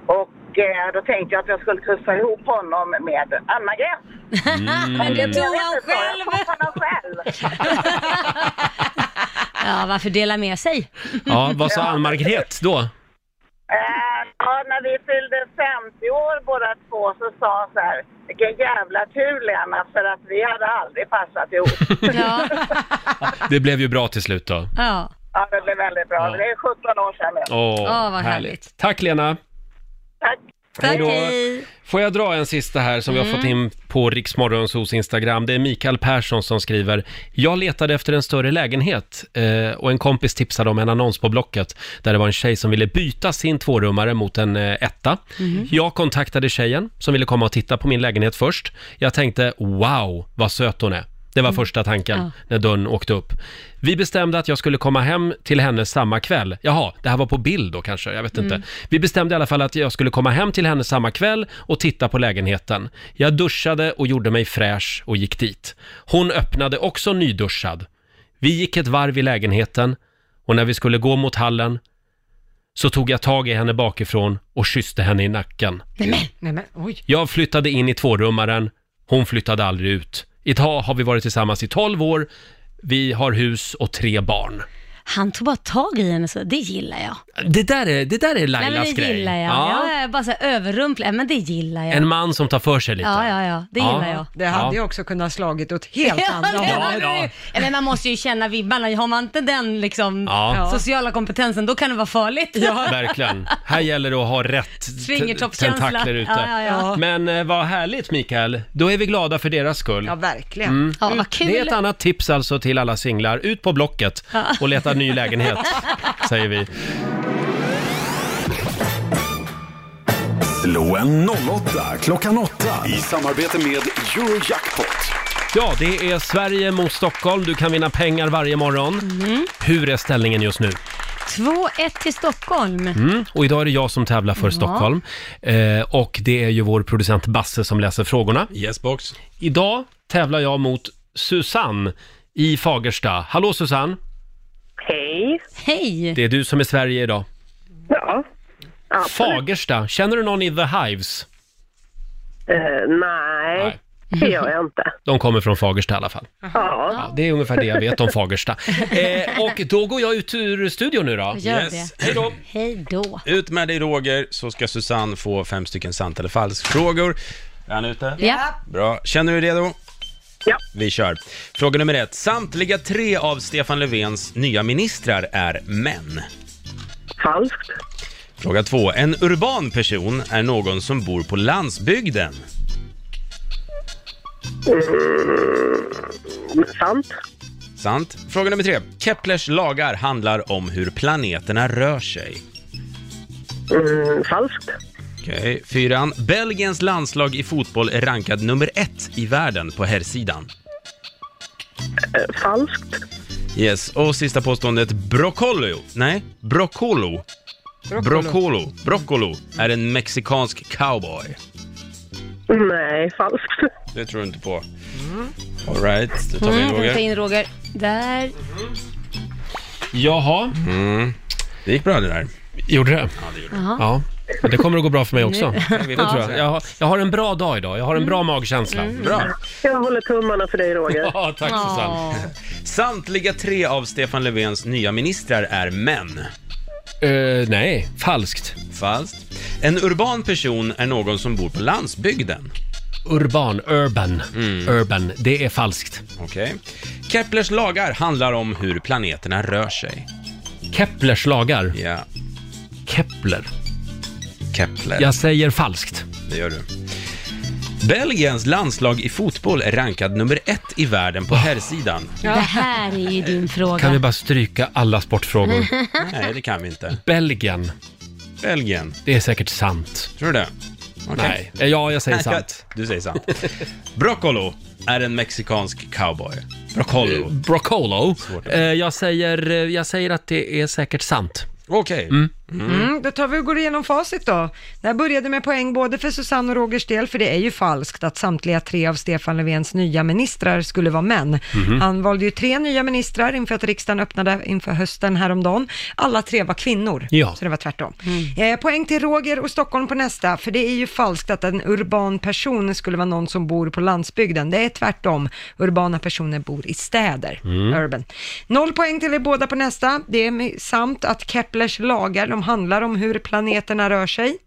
Och eh, då tänkte jag att jag skulle kussa ihop honom med Ann-Margret. Mm. Men det tog han Jag själv! (laughs) vet inte, jag kom på honom själv. Ja, varför dela med (laughs) sig? Ja, vad sa Ann-Margret då? Eh, Ja, när vi fyllde 50 år båda två så sa han så här, vilken jävla tur Lena, för att vi hade aldrig passat (laughs) ihop. Ja, Det blev ju bra till slut då. ja. ja det blev väldigt bra. Ja. Det är 17 år sedan nu. Åh, Ja, vad härligt. Tack Lena! Tack. Hej då. Får jag dra en sista här som vi har Mm. fått in på Riksmorgonsos Instagram. Det är Mikael Persson som skriver. Jag letade efter en större lägenhet eh, och en kompis tipsade om en annons på Blocket där det var en tjej som ville byta sin tvårummare mot en eh, etta. Mhm. Jag kontaktade tjejen som ville komma och titta på min lägenhet först. Jag tänkte wow, vad söt hon är. Det var första tanken Mm. Ja. när dörren åkte upp. Vi bestämde att jag skulle komma hem till henne samma kväll. Jaha, det här var på bild då kanske, jag vet inte. Mm. Vi bestämde i alla fall att jag skulle komma hem till henne samma kväll och titta på lägenheten. Jag duschade och gjorde mig fräsch och gick dit. Hon öppnade också nyduschad. Vi gick ett varv i lägenheten och när vi skulle gå mot hallen så tog jag tag i henne bakifrån och kysste henne i nacken. Nej men, oj. Jag flyttade in i tvårummaren, hon flyttade aldrig ut. Idag har vi varit tillsammans i 12 år, vi har hus och tre barn. Han tog bara tag i henne så, det gillar jag. Det där är, det där är Lailas Nej, men det grej. gillar jag. Ja. Jag är bara så här överrumplad, men det gillar jag. En man som tar för sig lite. Ja, ja, ja, det gillar jag. Det hade Ja. ju också kunnat slagit åt helt (laughs) Ja, andra det hållet. hade du. Eller man måste ju känna vibbarna, har man inte den liksom Ja. sociala kompetensen, då kan det vara farligt. (laughs) Verkligen. Här gäller det att ha rätt te- Fingertoppskänsla. tentakler ute. Ja, ja, ja. Men eh, vad härligt Mikael. Då är vi glada för deras skull. Ja, verkligen. Mm. Ja, vad kul. Det är ett annat tips alltså till alla singlar. Ut på Blocket Ja. och leta ny lägenhet, säger vi. Slå en 08 klockan 8 i samarbete med Eurojackpot. Ja, det är Sverige mot Stockholm. Du kan vinna pengar varje morgon. Hur är ställningen just nu? 2-1 till Stockholm. Mm. Och idag är det jag som tävlar för Ja. Stockholm. Eh, och det är ju vår producent Basse som läser frågorna. (laughs) Yes box. Idag tävlar jag mot Susanne i Fagersta. Hallå Susanne! Hej. Hej. Det är du som är Sverige idag. Ja. Fagersta, känner du någon i The Hives? Eh, nej, det gör jag inte. De kommer från Fagersta i alla fall. Ja. Det är ungefär det jag vet om Fagersta. Eh, och då går jag ut ur studion nu då. Gör det. Hej då. Hej då. Ut med dig Roger, så ska Susanne få fem stycken sant eller falsk-frågor. Är han ute? Ja. Bra. Känner du dig redo? Ja. Vi kör. Fråga nummer ett. Samtliga tre av Stefan Löfvens nya ministrar är män. Falskt. Fråga två. En urban person är någon som bor på landsbygden. Mm, sant. Sant. Fråga nummer tre. Keplers lagar handlar om hur planeterna rör sig. Mm, falskt. Okej. Fyran. Belgiens landslag i fotboll är rankad nummer ett i världen på herrsidan. Eh, falskt. Yes, och sista påståendet. Broccolo. Nej, broccolo. Broccolo. Broccolo. Broccolo är en mexikansk cowboy. Nej, falskt. (laughs) Det tror du inte på. Mm. All right, då tar vi in Mm, ta Roger. in Roger. Där. Jaha. Mm. Det gick bra det där. Gjorde det? Ja, det gjorde Jaha. Ja, men det kommer att gå bra för mig också. Nu- Det tror jag. Jag har, jag har en bra dag idag, jag har en bra magkänsla. Mm. Jag håller tummarna för dig, Roger. Ja, tack Susanne. Samtliga tre av Stefan Löfvens nya ministrar är män. Eh, nej, falskt. Falskt. En urban person är någon som bor på landsbygden. Urban, urban, Mm. urban. Det är falskt. Okej. Keplers lagar handlar om hur planeterna rör sig. Keplers lagar. Ja, Kepler. Kepler. Jag säger falskt. Det gör du. Belgiens landslag i fotboll är rankad nummer ett i världen på herrsidan. Det här är ju din fråga. Kan vi bara stryka alla sportfrågor? Nej, det kan vi inte. Belgien. Belgien. Det är säkert sant. Tror du det? Nej. Ja, jag säger Nej, sant. (laughs) Du säger sant. Broccolo är en mexikansk cowboy. Eh, Broccolo. Broccolo. Svårt. Eh, Jag säger, jag säger att det är säkert sant. Okej. Mm, då tar vi och går igenom facit då. Det här började med poäng både för Susanne och Rogers del, för det är ju falskt att samtliga tre av Stefan Löfvens nya ministrar skulle vara män. Mhm. Han valde ju tre nya ministrar inför att riksdagen öppnade inför hösten häromdagen. Alla tre var kvinnor, Ja. så det var tvärtom. Eh, poäng till Roger och Stockholm på nästa, för det är ju falskt att en urban person skulle vara någon som bor på landsbygden. Det är tvärtom. Urbana personer bor i städer. Mm. Urban. Noll poäng till er båda på nästa. Det är med- samt att Keplers lagar, de handlar om hur planeterna rör sig.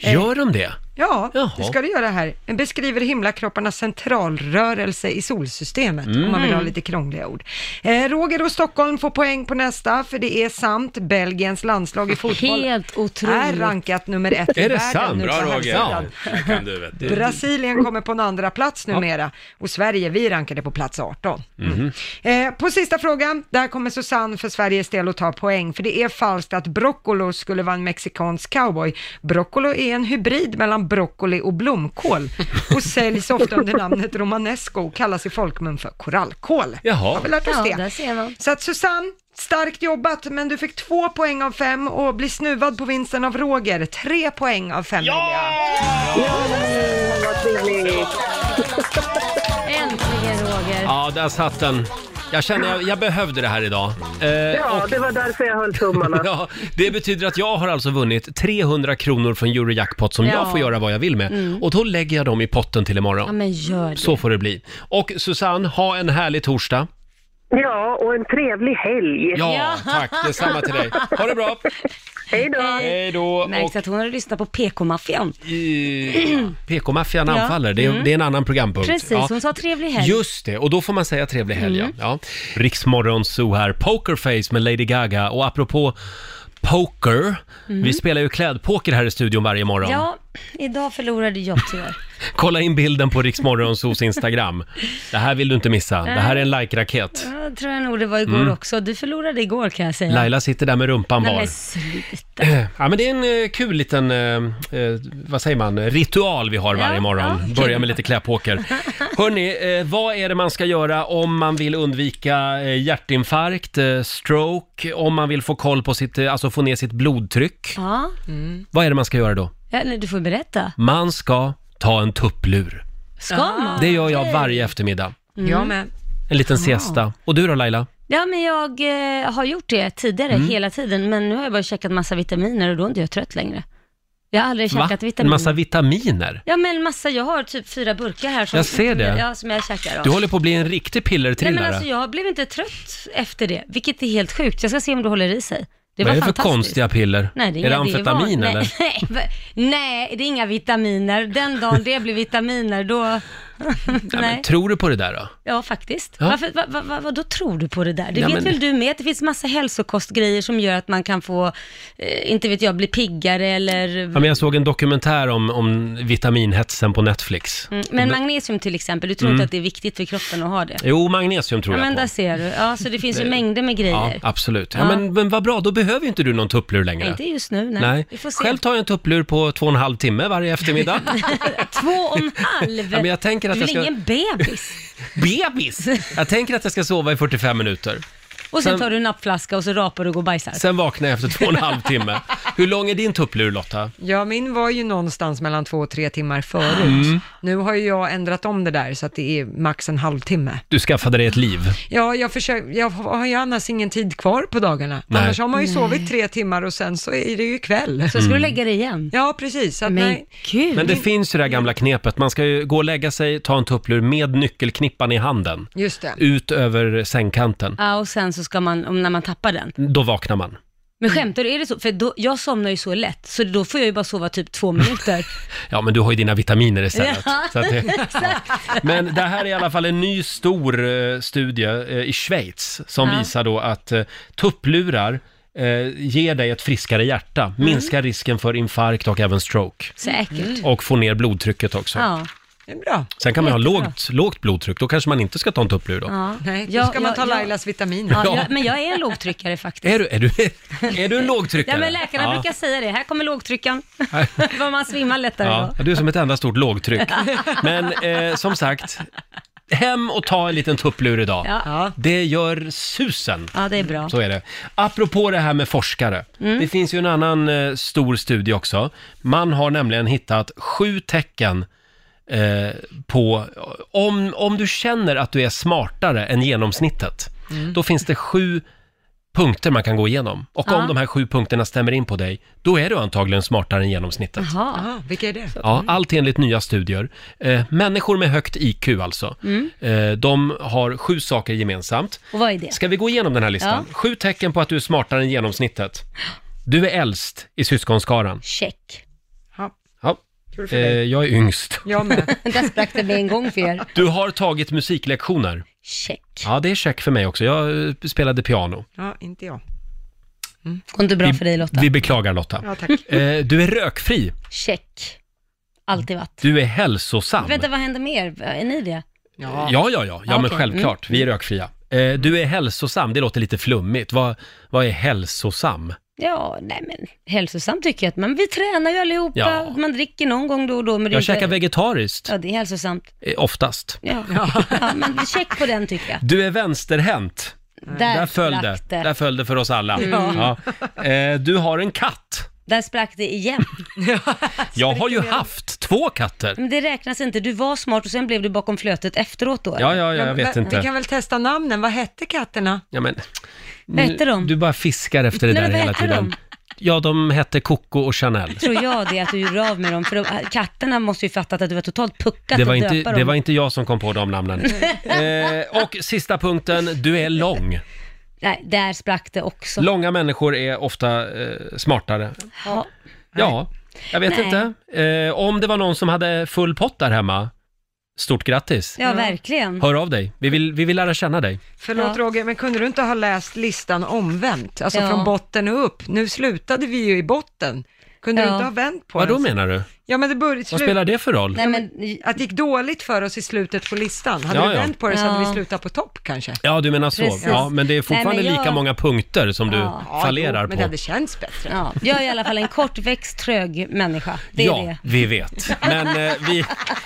Eh, Gör de det? Ja, Jaha. det ska du göra här. Den beskriver himlakropparnas centralrörelse i solsystemet, om man vill ha Mm. lite krångliga ord. Eh, Roger och Stockholm får poäng på nästa, för det är sant. Belgiens landslag i fotboll Helt är otroligt. rankat nummer ett i världen nu på Bra Roger. hemsidan. Där kan du, vet du. Brasilien kommer på en andra plats numera och Sverige, vi rankade på plats 18. Mhm. Eh, på sista frågan, där kommer Susanne för Sveriges del att ta poäng, för det är falskt att Broccolo skulle vara en mexikansk cowboy. Broccolo är en hybrid mellan broccoli och blomkål och säljs ofta under namnet romanesco och kallas i folkmun för korallkål. Jaha. Har vi lärt oss Ja, det? där ser man. Så att Susanne, starkt jobbat, men du fick två poäng av fem och blir snuvad på vinsten av Roger. Tre poäng av fem, Julia. Vad trevligt. Äntligen Roger. Ja, där satt den. Jag känner, jag, jag behövde det här idag. Eh, Ja, det var därför jag höll tummarna. (laughs) ja, det betyder att jag har alltså vunnit 300 kronor från Eurojackpot som jag Ja. får göra vad jag vill med. Mm. Och då lägger jag dem i potten till Ja, imorgon. men gör det. Så får det bli. Och Susanne, ha en härlig torsdag. Ja, och en trevlig helg. Ja, tack. Detsamma till dig. Ha det bra. Hej då. Hej då. Märks att hon hade lyssnat på PK-maffian. PK-maffian Ja. anfaller, det är, Mm. det är en annan programpunkt. Precis, Ja. hon sa trevlig helg. Just det, och då får man säga trevlig helg. Mm. Ja. Riksmorgon Zoo här, Pokerface med Lady Gaga. Och apropå poker, Mm. vi spelar ju klädpoker här i studion varje morgon. Ja, idag förlorade jag tyvärr. Kolla in bilden på Riksmorgon Zoos (laughs) Instagram. Det här vill du inte missa. Det här är en like-raket. Ja, tror jag nog det var igår Mm. också. Du förlorade igår kan jag säga. Laila sitter där med rumpan Nej, var. men sluta. Ja, men det är en eh, kul liten, eh, eh, vad säger man, ritual vi har varje Ja, morgon. ja. Börja med lite (laughs) kläpoker. Hörni, eh, vad är det man ska göra om man vill undvika eh, hjärtinfarkt, eh, stroke, om man vill få koll på sitt, eh, alltså få ner sitt blodtryck? Ja. Vad är det man ska göra då? ja nej, du får berätta. Man ska ta en tupplur. Ska man? Det gör jag varje eftermiddag. Mm. Jag med. En liten siesta. Och du då Laila? Ja, men jag eh, har gjort det tidigare Mm. hela tiden, men nu har jag bara käkat massa vitaminer och då är inte jag trött längre. Jag har aldrig käkat En vitaminer. massa vitaminer? Ja, men massa. Jag har typ fyra burkar här som, Jag ser det. Ja, som jag käkar av. Du håller på att bli en riktig Nej, men pillertrillare. alltså jag blev inte trött efter det, vilket är helt sjukt. Jag ska se om du håller i sig. Det var Vad är det för fantastiskt. konstiga piller? Nej, det är, är det inga- är amfetamin (laughs) van- eller? Nej, nej, nej, det är inga vitaminer. Den dagen det blir (laughs) vitaminer, då... nej. Tror du på det där då? Ja, faktiskt. Ja. Varför, va, va, va, då tror du på det där? Det Ja, vet men- väl du med, att det finns massa hälsokostgrejer som gör att man kan få, eh, inte vet jag, bli piggare eller... Ja, men jag såg en dokumentär om, om vitaminhetsen på Netflix. Mm, men magnesium till exempel, du tror Mm. inte att det är viktigt för kroppen att ha det? Jo, magnesium tror ja, jag men på. där ser du. Ja, så det finns ju Det- mängder med Ja, grejer. absolut. Ja, Ja. Men, men vad bra, då behöver ju inte du någon tupplur längre. Nej, inte just nu, nej. Nej. Vi får se. Själv tar jag en tupplur på två och en halv timme varje eftermiddag. (laughs) Två och en halv! Ja, men jag tänker att du är jag väl ska- ingen bebis? Bebis! Jag tänker att jag ska sova i 45 minuter. Och sen Sen- tar du en nappflaska och så rapar du och går och bajsar. Sen vaknar jag efter två och en halv timme. Hur lång är din tupplur Lotta? Ja, min var ju någonstans mellan två och tre timmar förut. Mm. Nu har ju jag ändrat om det där så att det är max en halvtimme. Du skaffade dig ett liv. Ja, jag, försöker, jag har ju annars ingen tid kvar på dagarna. Nej. Annars har man ju Nej. sovit tre timmar och sen så är det ju kväll. Så ska du Mm. lägga dig igen? Ja, precis. Så att, nej. Gud. Men det finns ju det här gamla knepet, man ska ju gå och lägga sig, ta en tupplur med nyckelknippan i handen. Just det. Ut över sängkanten. Ja, och sen så ska man, om när man tappar den. Då vaknar man. Mm. Men skämtar du, är det så? För då, jag somnar ju så lätt, så då får jag ju bara sova typ två (laughs) Mm. minuter. Ja, men du har ju dina vitaminer istället. Ja, Så att det... (laughs) exakt. Men det här är i alla fall en ny stor eh, studie eh, i Schweiz som Ja. visar då att eh, tupplurar eh, ger dig ett friskare Mm. hjärta, minskar risken för infarkt och även stroke. Säkert. Och får ner blodtrycket också. Mm. Ja. Det är bra. Sen kan man ha Jättebra. lågt, lågt blodtryck, då kanske man inte ska ta en tupplur då. Ja. Nej, då Ja, ska man ja, ta ja. Lailas vitaminer. Ja, jag, men jag är en lågtryckare faktiskt. Är, du, är, du, är (laughs) du en lågtryckare? Ja, men läkarna Ja. brukar säga det, här (laughs) kommer lågtryckan. Vad man svimmar lättare Ja, då. (laughs) du är som ett enda stort lågtryck. Men eh, som sagt, hem och ta en liten tupplur idag. Ja. Ja. Det gör susen. Ja, det är bra. Så är det. Apropå det här med forskare. Mm. Det finns ju en annan eh, stor studie också. Man har nämligen hittat sju tecken eh, på... Om, om du känner att du är smartare än genomsnittet, Mm. då finns det sju punkter man kan gå igenom. Och Ja. om de här sju punkterna stämmer in på dig, då är du antagligen smartare än genomsnittet. Mm. Jaha, vilka är det? Ja, allt enligt nya studier. Eh, människor med högt IQ alltså, Mm. eh, de har sju saker gemensamt. Och vad är det? Ska vi gå igenom den här listan? Ja. Sju tecken på att du är smartare än genomsnittet. Du är äldst i syskonskaran. Check. Ja. Kul för Eh, dig. jag är yngst. Jag med. Där sprack det med en gång för er. Du har tagit musiklektioner. Check. Ja, det är check för mig också. Jag eh, spelade piano. Ja, inte jag. Går inte bra Vi- för dig Lotta? Vi beklagar Lotta. Ja, tack. Eh, du är rökfri. Check. Alltid varit. Du är hälsosam. Vänta, vad händer med er? Är ni det? Ja, ja, ja. Ja, men okej. Mm. självklart. Vi är rökfria. Eh, du är hälsosam. Det låter lite flummigt. Vad, vad är hälsosam? Ja, nej men hälsosamt tycker jag att man, vi tränar ju allihopa, Ja. man dricker någon gång då och då. Men det är Jag inte- käkar vegetariskt, Ja, det är hälsosamt. eh, oftast. Ja. (laughs) ja, men check på den tycker jag. Du är vänsterhänt. Där föll sprack det. det. Mm. Där föll det för oss alla. Mm. Ja. Eh, du har en katt. Där sprack det igen. Jag har ju haft två katter. Men det räknas inte, du var smart och sen blev du bakom flötet efteråt då. Ja, ja, ja, jag Men- vet men- inte. vi kan väl testa namnen, vad hette katterna? Ja, men, Vad hette de? Du bara fiskar efter det Nej, där men vad hela hette tiden. de? Ja, de hette Coco och Chanel. Tror jag det, att du gjorde av med dem. För de, katterna måste ju fattat att du var totalt puckat Det var, att inte, döpa det dem. var inte jag som kom på de (laughs) namnen. Eh, och sista punkten, du är lång. Nej, där sprack det också. Långa människor är ofta eh, smartare. Ja. Ja, jag vet Nej. inte. Eh, om det var någon som hade full pott där hemma, stort grattis. Ja, verkligen. Hör av dig. Vi vill, vi vill lära känna dig. Förlåt Roger, men kunde du inte ha läst listan omvänt? Alltså Ja. från botten och upp. Nu slutade vi ju i botten. Kunde du Ja. inte ha vänt på Vad då den? menar du? Ja, men det började, Vad spelar det för roll? Nej, men... Att det gick dåligt för oss i slutet på listan. Hade Ja, vi ja. vänt på det så hade Ja. vi slutat på topp kanske. Ja, du menar så. Precis. Ja, men det är fortfarande Nej, men jag- lika många punkter som du Ja. fallerar men på. det hade känts bättre. Ja, jag är i alla fall en kortväxt, trög människa. Det är ja, det. vi vet. Men eh, vi,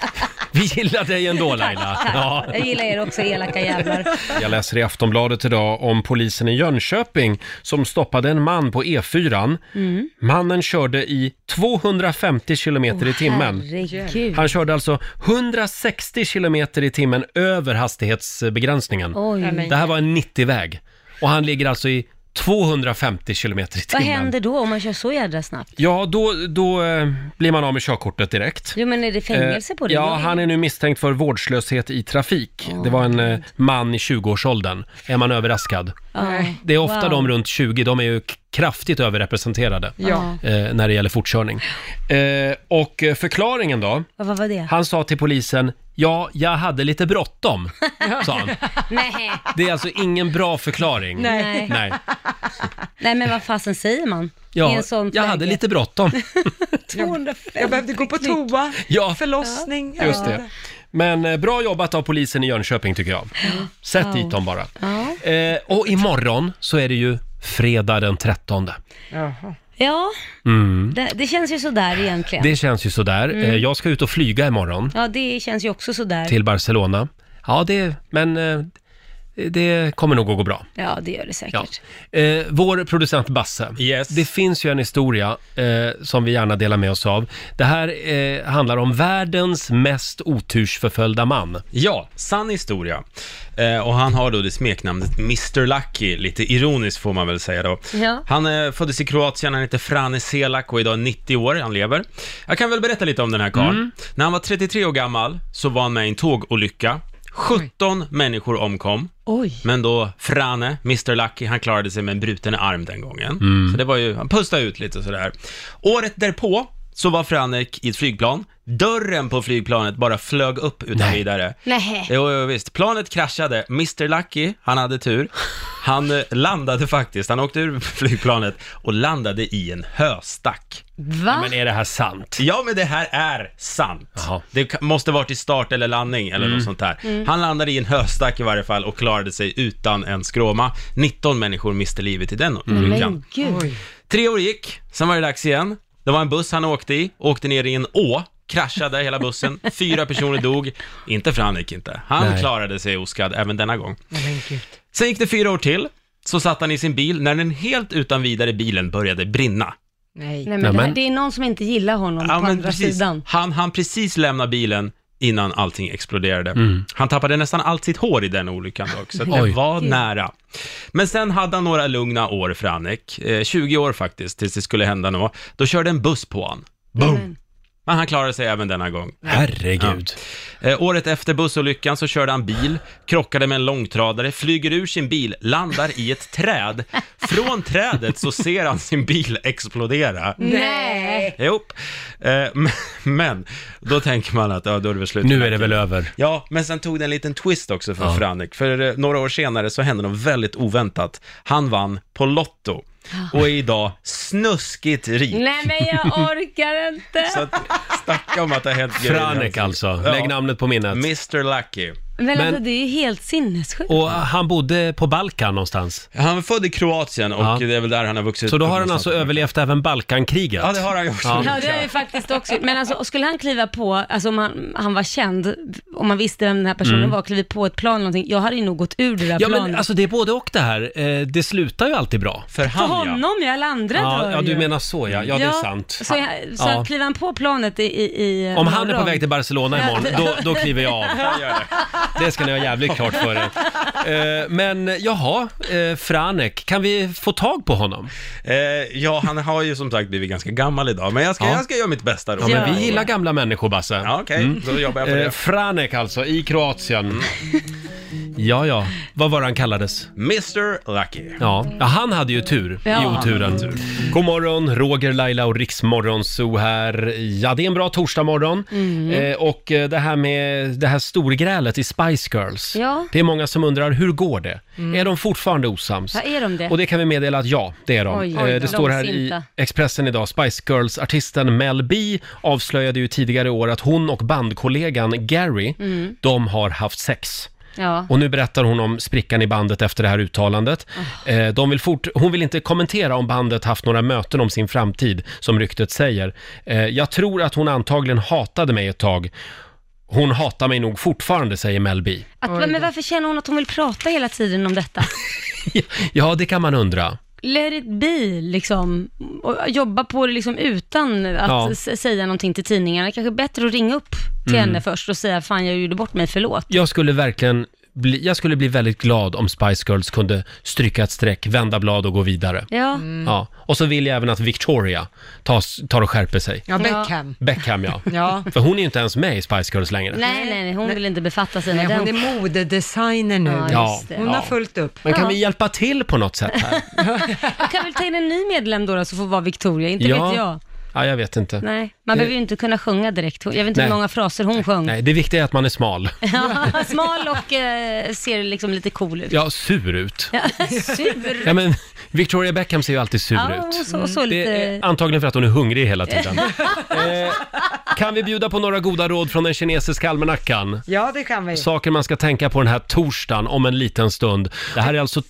(laughs) vi gillar dig ändå Laila. Ja. Jag gillar er också, elaka jävlar. Jag läser i Aftonbladet idag om polisen i Jönköping som stoppade en man på E4. Mm. Mannen körde i 250 kilometer i timmen. Herregud. Han körde alltså 160 kilometer i timmen över hastighetsbegränsningen. Oj. Nej, men- Det här var en 90-väg. Och han ligger alltså i 250 kilometer i Vad timmen. händer då om man kör så jädra snabbt? Ja, då, då eh, blir man av med körkortet direkt. Jo, men är det fängelse Eh, på det? Ja, han är nu misstänkt för vårdslöshet i trafik. Det var en eh, man i 20-årsåldern. Är man överraskad? Ja. Det är ofta Wow. de runt 20, de är ju k- kraftigt överrepresenterade Ja. eh, när det gäller fortkörning. Eh, och eh, förklaringen då? Vad vad var det? Han sa till polisen, ja, jag hade lite (laughs) bråttom, sa han. Nej. Det är alltså ingen bra förklaring. Nej. Nej. Nej, men vad fasen säger man? I Ja, en sån jag hade lite bråttom. (laughs) 250 Jag behövde gå på toa, Ja. förlossning. jag Just vet det. Men eh, bra jobbat av polisen i Jönköping tycker jag. Sätt Wow. dit dem bara. Ja. Eh, och imorgon så är det ju fredag den 13. ja Mm. det, det känns ju sådär egentligen. Det känns ju sådär. Mm. Eh, jag ska ut och flyga imorgon Ja, det känns ju också sådär. till Barcelona. Ja, det, men eh, det kommer nog att gå bra. Ja, det gör det Ja. säkert. Eh, vår producent Basse, det finns ju en historia eh, som vi gärna delar med oss av. Det här eh, handlar om världens mest otursförföljda man. Ja, sann historia. Eh, och han har då det smeknamnet Mr Lucky, lite ironiskt får man väl säga då. Ja. Han eh, föddes i Kroatien, han heter Frane Selak och är idag 90 år, han lever. Jag kan väl berätta lite om den här karln. Mm. När han var 33 år gammal så var han med i en tågolycka. 17 människor omkom. Oj. Men då Frane, Mr Lucky, han klarade sig med en bruten arm den gången. Mm. Så det var ju, han pustade ut lite och sådär. Året därpå så var Frane i ett flygplan. Dörren på flygplanet bara flög upp utan vidare. Nej. Jo, jo, visst. Planet kraschade. Mr Lucky, han hade tur. Han eh, landade faktiskt, han åkte ur (laughs) flygplanet och landade i en höstack. Va? Men är det här sant? Ja, men det här är sant. Det ka- måste varit i start eller landning eller Mm. något sånt där. Mm. Han landade i en höstack i varje fall och klarade sig utan en skråma. 19 människor miste livet i den Mm. Men olyckan. gud. Tre år gick, sen var det dags igen. Det var en buss han åkte i, åkte ner i en å, kraschade (laughs) hela bussen, fyra personer dog. Inte för han gick inte. Han Nej. klarade sig oskadd även denna gång. Sen gick det fyra år till, så satt han i sin bil när den helt utan vidare bilen började brinna. Nej, men Nämen. Det, här, det är någon som inte gillar honom på andra sidan. Han hann precis lämna bilen innan allting exploderade. Han tappade nästan allt sitt hår i den olyckan dock, så att det Oj. var Gud. nära. Men sen hade han några lugna år för Annick, eh, 20 år faktiskt, tills det skulle hända något. Då körde en buss på honom. Boom! Men han klarade sig även denna gång. Herregud. Ja. Eh, året efter bussolyckan så körde han bil, krockade med en långtradare, flyger ur sin bil, landar i (laughs) ett träd. Från trädet så ser han sin bil explodera. Nej! Jo, eh, (laughs) men- men då tänker man att ja, då är det väl slut. Nu är det väl över. Ja, men sen tog det en liten twist också för Ja. Frank, för eh, några år senare så hände något väldigt oväntat. Han vann på Lotto och är idag snuskigt rik. Nej men jag orkar inte. Så att, snacka om att det har hänt grejer. Franek alltså. Lägg namnet på minnet. Mr Lucky. men, alltså det är ju helt sinnessjukt. Och eh, han bodde på Balkan någonstans? Han är född i Kroatien och det är väl där han har vuxit Så då upp har han alltså någonstans. överlevt även Balkankriget? Ja, det har han gjort. Ja, det har jag ju faktiskt också gjort. Men alltså, skulle han kliva på, alltså om han, han var känd, om man visste vem den här personen Mm. var, klivit på ett plan eller någonting, jag hade ju nog gått ur det där Ja, planet. men alltså det är både och det här. Eh, Det slutar ju alltid bra. För För honom ja, eller andra Ja, dör ja, du ju. menar så ja. Ja, det är sant. Så, jag, så Ja. kliver han på planet i, i, i Om han är på morgon. väg till Barcelona imorgon, då, då kliver (laughs) jag av. Det ska ni ha jävligt klart för er. Eh, Men jaha, eh, Franek, kan vi få tag på honom? Eh, ja, han har ju som sagt blivit ganska gammal idag, men jag ska, jag ska göra mitt bästa då. Ja, men vi gillar Mm. gamla människor, Basse. Ja, okej. Då jobbar jag på det. Eh, Franek alltså, i Kroatien. Ja, ja. Vad var det han kallades? Mr Lucky. Ja, ja han hade ju tur Ja, i han oturen. hade tur. God morgon, Roger, Laila och Riksmorgonzoo här. Ja, det är en bra torsdagmorgon. Mm. Eh, och eh, det här med det här storgrälet i Spice Girls. Ja. Mm. Det är många som undrar, hur går det? Är de fortfarande osams? Ja, är de det? Och det kan vi meddela att ja, det är de. Oj, Eh, oj, det oj. står här i Långsinta. Expressen idag. Spice Girls-artisten Mel B avslöjade ju tidigare i år att hon och bandkollegan Gary, Mm. de har haft sex. Ja. Och nu berättar hon om sprickan i bandet efter det här uttalandet. Ah. Eh, De vill fort, hon vill inte kommentera om bandet haft några möten om sin framtid, som ryktet säger. Eh, Jag tror att hon antagligen hatade mig ett tag. Hon hatar mig nog fortfarande, säger Mel B. (laughs) Att, men varför känner hon att hon vill prata hela tiden om detta? Ja, det kan man undra. Let it be, liksom. Och jobba på det liksom utan att Ja. s- säga någonting till tidningarna. Kanske bättre att ringa upp till Mm. henne först och säga, fan jag gjorde bort mig, förlåt. Jag skulle verkligen bli, jag skulle bli väldigt glad om Spice Girls kunde stryka ett streck, vända blad och gå vidare. Ja. Ja. Och så vill jag även att Victoria tar, tar och skärper sig. Ja, Beckham. Beckham, (laughs) ja. Ja. För hon är ju inte ens med i Spice Girls längre. Nej, nej, nej, hon vill inte befatta sig Nej, med hon den. är modedesigner nu. Ja, just det. Hon har Ja. fullt upp. Men kan Ja. vi hjälpa till på något sätt (laughs) här? Jag kan väl ta in en ny medlem då, då så får vara Victoria, inte vet jag. Ja, jag vet inte. Nej, man Det- behöver ju inte kunna sjunga direkt. Hon- Jag vet inte hur Nej. många fraser hon sjöng. Nej, det viktiga är att man är smal. (laughs) Ja, Smal och eh, ser liksom lite cool ut. Ja, sur ut. Ja, sur. Mm. Ja, men Victoria Beckham ser ju alltid sur Ja, ut. och så- och så Det är lite- antagligen för att hon är hungrig hela (laughs) tiden. eh, kan vi bjuda på några goda råd från den kinesiska almanackan? Ja, det kan vi. Saker man ska tänka på den här torsdagen om en liten stund. Det här är alltså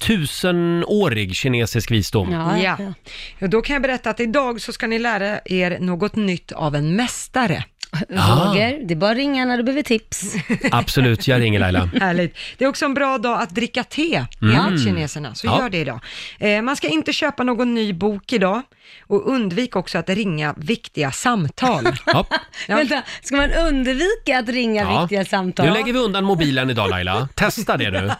tusenårig kinesisk visdom. Ja. Och Då kan jag berätta att idag så ska ni lära er något nytt av en mästare. Ah. Roger, det är bara att ringa när du behöver tips. Absolut, jag ringer Laila. Härligt. Det är också en bra dag att dricka te, Mm. enligt kineserna. Så Ja. gör det idag. Eh, man ska inte köpa någon ny bok idag och undvik också att ringa viktiga samtal. (laughs) Vänta, ska man undvika att ringa Ja. viktiga samtal? Nu lägger vi undan mobilen idag Laila. Testa det nu.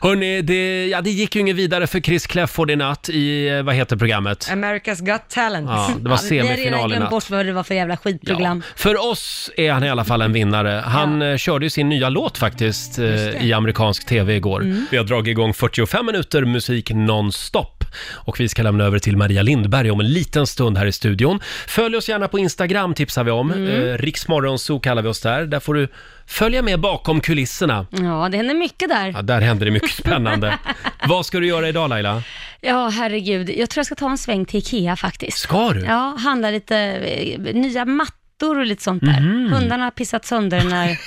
Hörni, det, ja, det gick ju inget vidare för Chris Kläfford i natt i, eh, vad heter programmet? America's Got Talent. Ja, det var Vi har redan semifinal i glömt natt. bort vad det var för jävla skitprogram. För oss är han i alla fall en vinnare. Han eh, körde ju sin nya låt faktiskt eh, i amerikansk tv igår. Mm. Vi har dragit igång 45 minuter musik nonstop. Och vi ska lämna över till Maria Lindberg om en liten stund här i studion. Följ oss gärna på Instagram tipsar vi om. Mm. Eh, Riksmorgonzoo kallar vi oss där. Där får du följa med bakom kulisserna. Ja. det händer mycket där. Ja, där händer det mycket (laughs) spännande. Vad ska du göra idag Laila? Ja, herregud. Jag tror jag ska ta en sväng till Ikea faktiskt. Ska du? Ja, handla lite eh, nya mattor och lite sånt där. Mhm. Hundarna har pissat sönder (laughs) den här,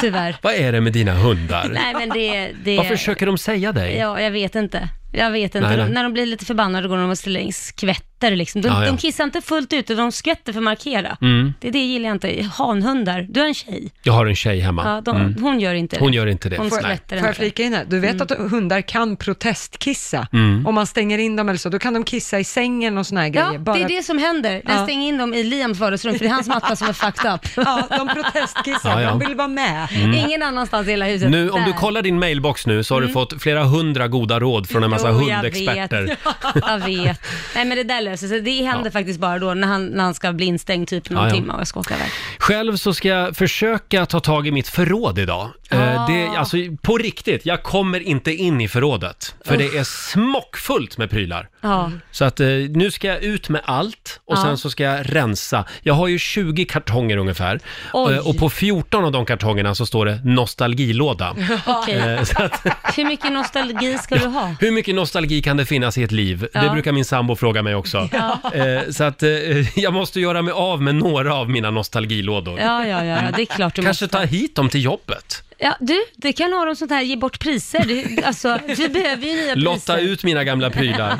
tyvärr. Vad är det med dina hundar? Nej, men det... det Vad försöker de säga dig? Ja, jag vet inte. Jag vet inte. Nej, nej. De- När de blir lite förbannade går de och slänger- skvätter liksom. De, Ja, ja. de kissar inte fullt ut, utan de skvätter för att markera. Mm. Det, det gillar jag inte. Hanhundar, du är en tjej. Jag har en tjej hemma. Ja, de, Mm. Hon gör inte det. Hon gör inte det. Hon Nej. skvätter Får jag inte. flika in här? Du vet att hundar kan protestkissa. Mm. Om man stänger in dem eller så, då kan de kissa i sängen och såna här Ja, grejer. Bara- det är det som händer. Den Ja. stänger in dem i Liams vardagsrum, för det är hans matta som är fucked up. Ja, (laughs) de protestkissar. Ja, ja. De vill vara med. Mm. Ingen annanstans i hela huset. Nu, om du Där. kollar din mailbox nu så har du Mm. fått flera hundra goda råd från en massa Jo, jag hundexperter. (laughs) vet. Jag vet. Nej, men det där löser sig. Det händer faktiskt bara då när han, när han ska bli instängd typ någon Ja, ja. timme och jag ska åka iväg. Själv så ska jag försöka ta tag i mitt förråd idag. Ah. Eh, Det, alltså, på riktigt, jag kommer inte in i förrådet. För det är smockfullt med prylar. Ja. Så att eh, nu ska jag ut med allt och Ja. sen så ska jag rensa. Jag har ju 20 kartonger ungefär. Oj. Eh, Och på 14 av de kartongerna så står det nostalgilåda. (laughs) Okej. Eh, så att, (laughs) Hur mycket nostalgi ska du ha? hur mycket nostalgi kan det finnas i ett liv? Det Ja. brukar min sambo fråga mig också. (laughs) Ja. Eh, så att eh, (laughs) jag måste göra mig av med några av mina nostalgilådor. Ja, ja, ja, ja, det är klart du Kanske måste. ta hit dem till jobbet. Ja, du, det kan ha dem sånt här, ge bort priser. Du, alltså, vi behöver ju nya priser. Lotta ut mina gamla (laughs) prylar.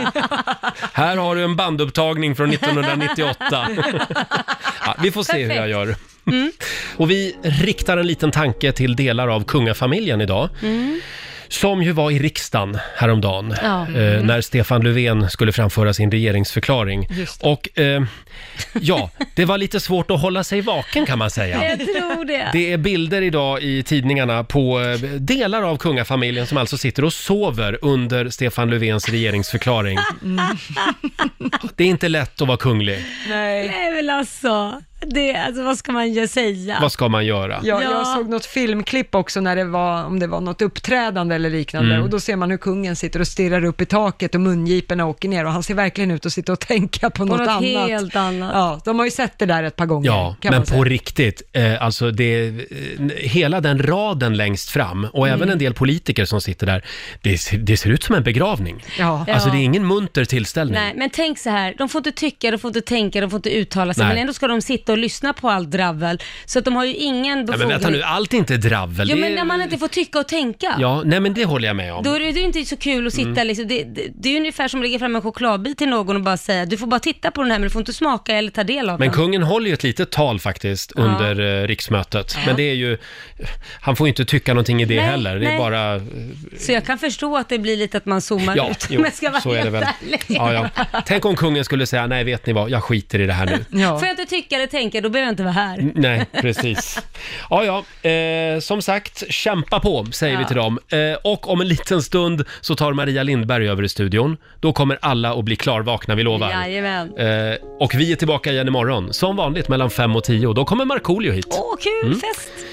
Här har du en bandupptagning från 1998. (laughs) ja, vi får se hur jag gör. Mm. (laughs) Och vi riktar en liten tanke till delar av kungafamiljen idag. Mm. Som ju var i riksdagen häromdagen Ja. Mm. eh, när Stefan Löfven skulle framföra sin regeringsförklaring. Just Och eh, ja, det var lite svårt att hålla sig vaken kan man (laughs) säga. Jag tror det. Det är bilder idag i tidningarna på eh, delar av kungafamiljen som alltså sitter och sover under Stefan Löfvens regeringsförklaring. Mm. Det är inte lätt att vara kunglig. Nej. Nej, men alltså, det, alltså, vad ska man ju säga? Vad ska man göra? Ja, Jag såg något filmklipp också när det var, om det var något uppträdande eller liknande, Mm. och då ser man hur kungen sitter och stirrar upp i taket och mungiporna åker ner och han ser verkligen ut att sitta och tänka på, något, något annat. helt annat. Ja, de har ju sett det där ett par gånger. Ja, kan men man säga. på riktigt. Eh, alltså det, eh, hela den raden längst fram och Mm. även en del politiker som sitter där. Det, ser- det ser ut som en begravning. Ja. Alltså det är ingen munter tillställning. Nej, men tänk så här, de får inte tycka, de får inte tänka, de får inte uttala sig, Nej. men ändå ska de sitta och lyssna på allt dravel. Så att de har ju ingen Ja, men befogenhet. vänta nu, allt är inte dravel. Jo, Det men är- när man inte får tycka och tänka. Ja, nej men det håller jag med om. Då är det ju inte så kul att sitta Mm. liksom, det, det, det är ju ungefär som att lägga fram en chokladbit till någon och bara säga, du får bara titta på den här men du får inte smaka eller ta del av Men den. kungen håller ju ett litet tal faktiskt Ja. under eh, riksmötet. Men det är ju, han får ju inte tycka någonting i det Nej, heller. Det är nej. bara... eh, Så jag kan förstå att det blir lite att man zoomar Ja, ut, (laughs) jo, men ska vara så är det väl. helt ärlig. Ja, ja. Tänk om kungen skulle säga, nej vet ni vad, jag skiter i det här (laughs) nu. Får jag inte tycka eller tänka, då behöver jag inte vara här. N- Nej, precis. Ja, ja, eh, som sagt, kämpa på, säger vi Ja. till dem. Eh, och om en liten stund så tar Maria Lindberg över i studion. Då kommer alla att bli klarvakna, vi lovar. Jajamän. Eh, och vi är tillbaka igen imorgon, som vanligt mellan 5 och 10. Då kommer Markoolio hit. Åh, kul Mm. fest!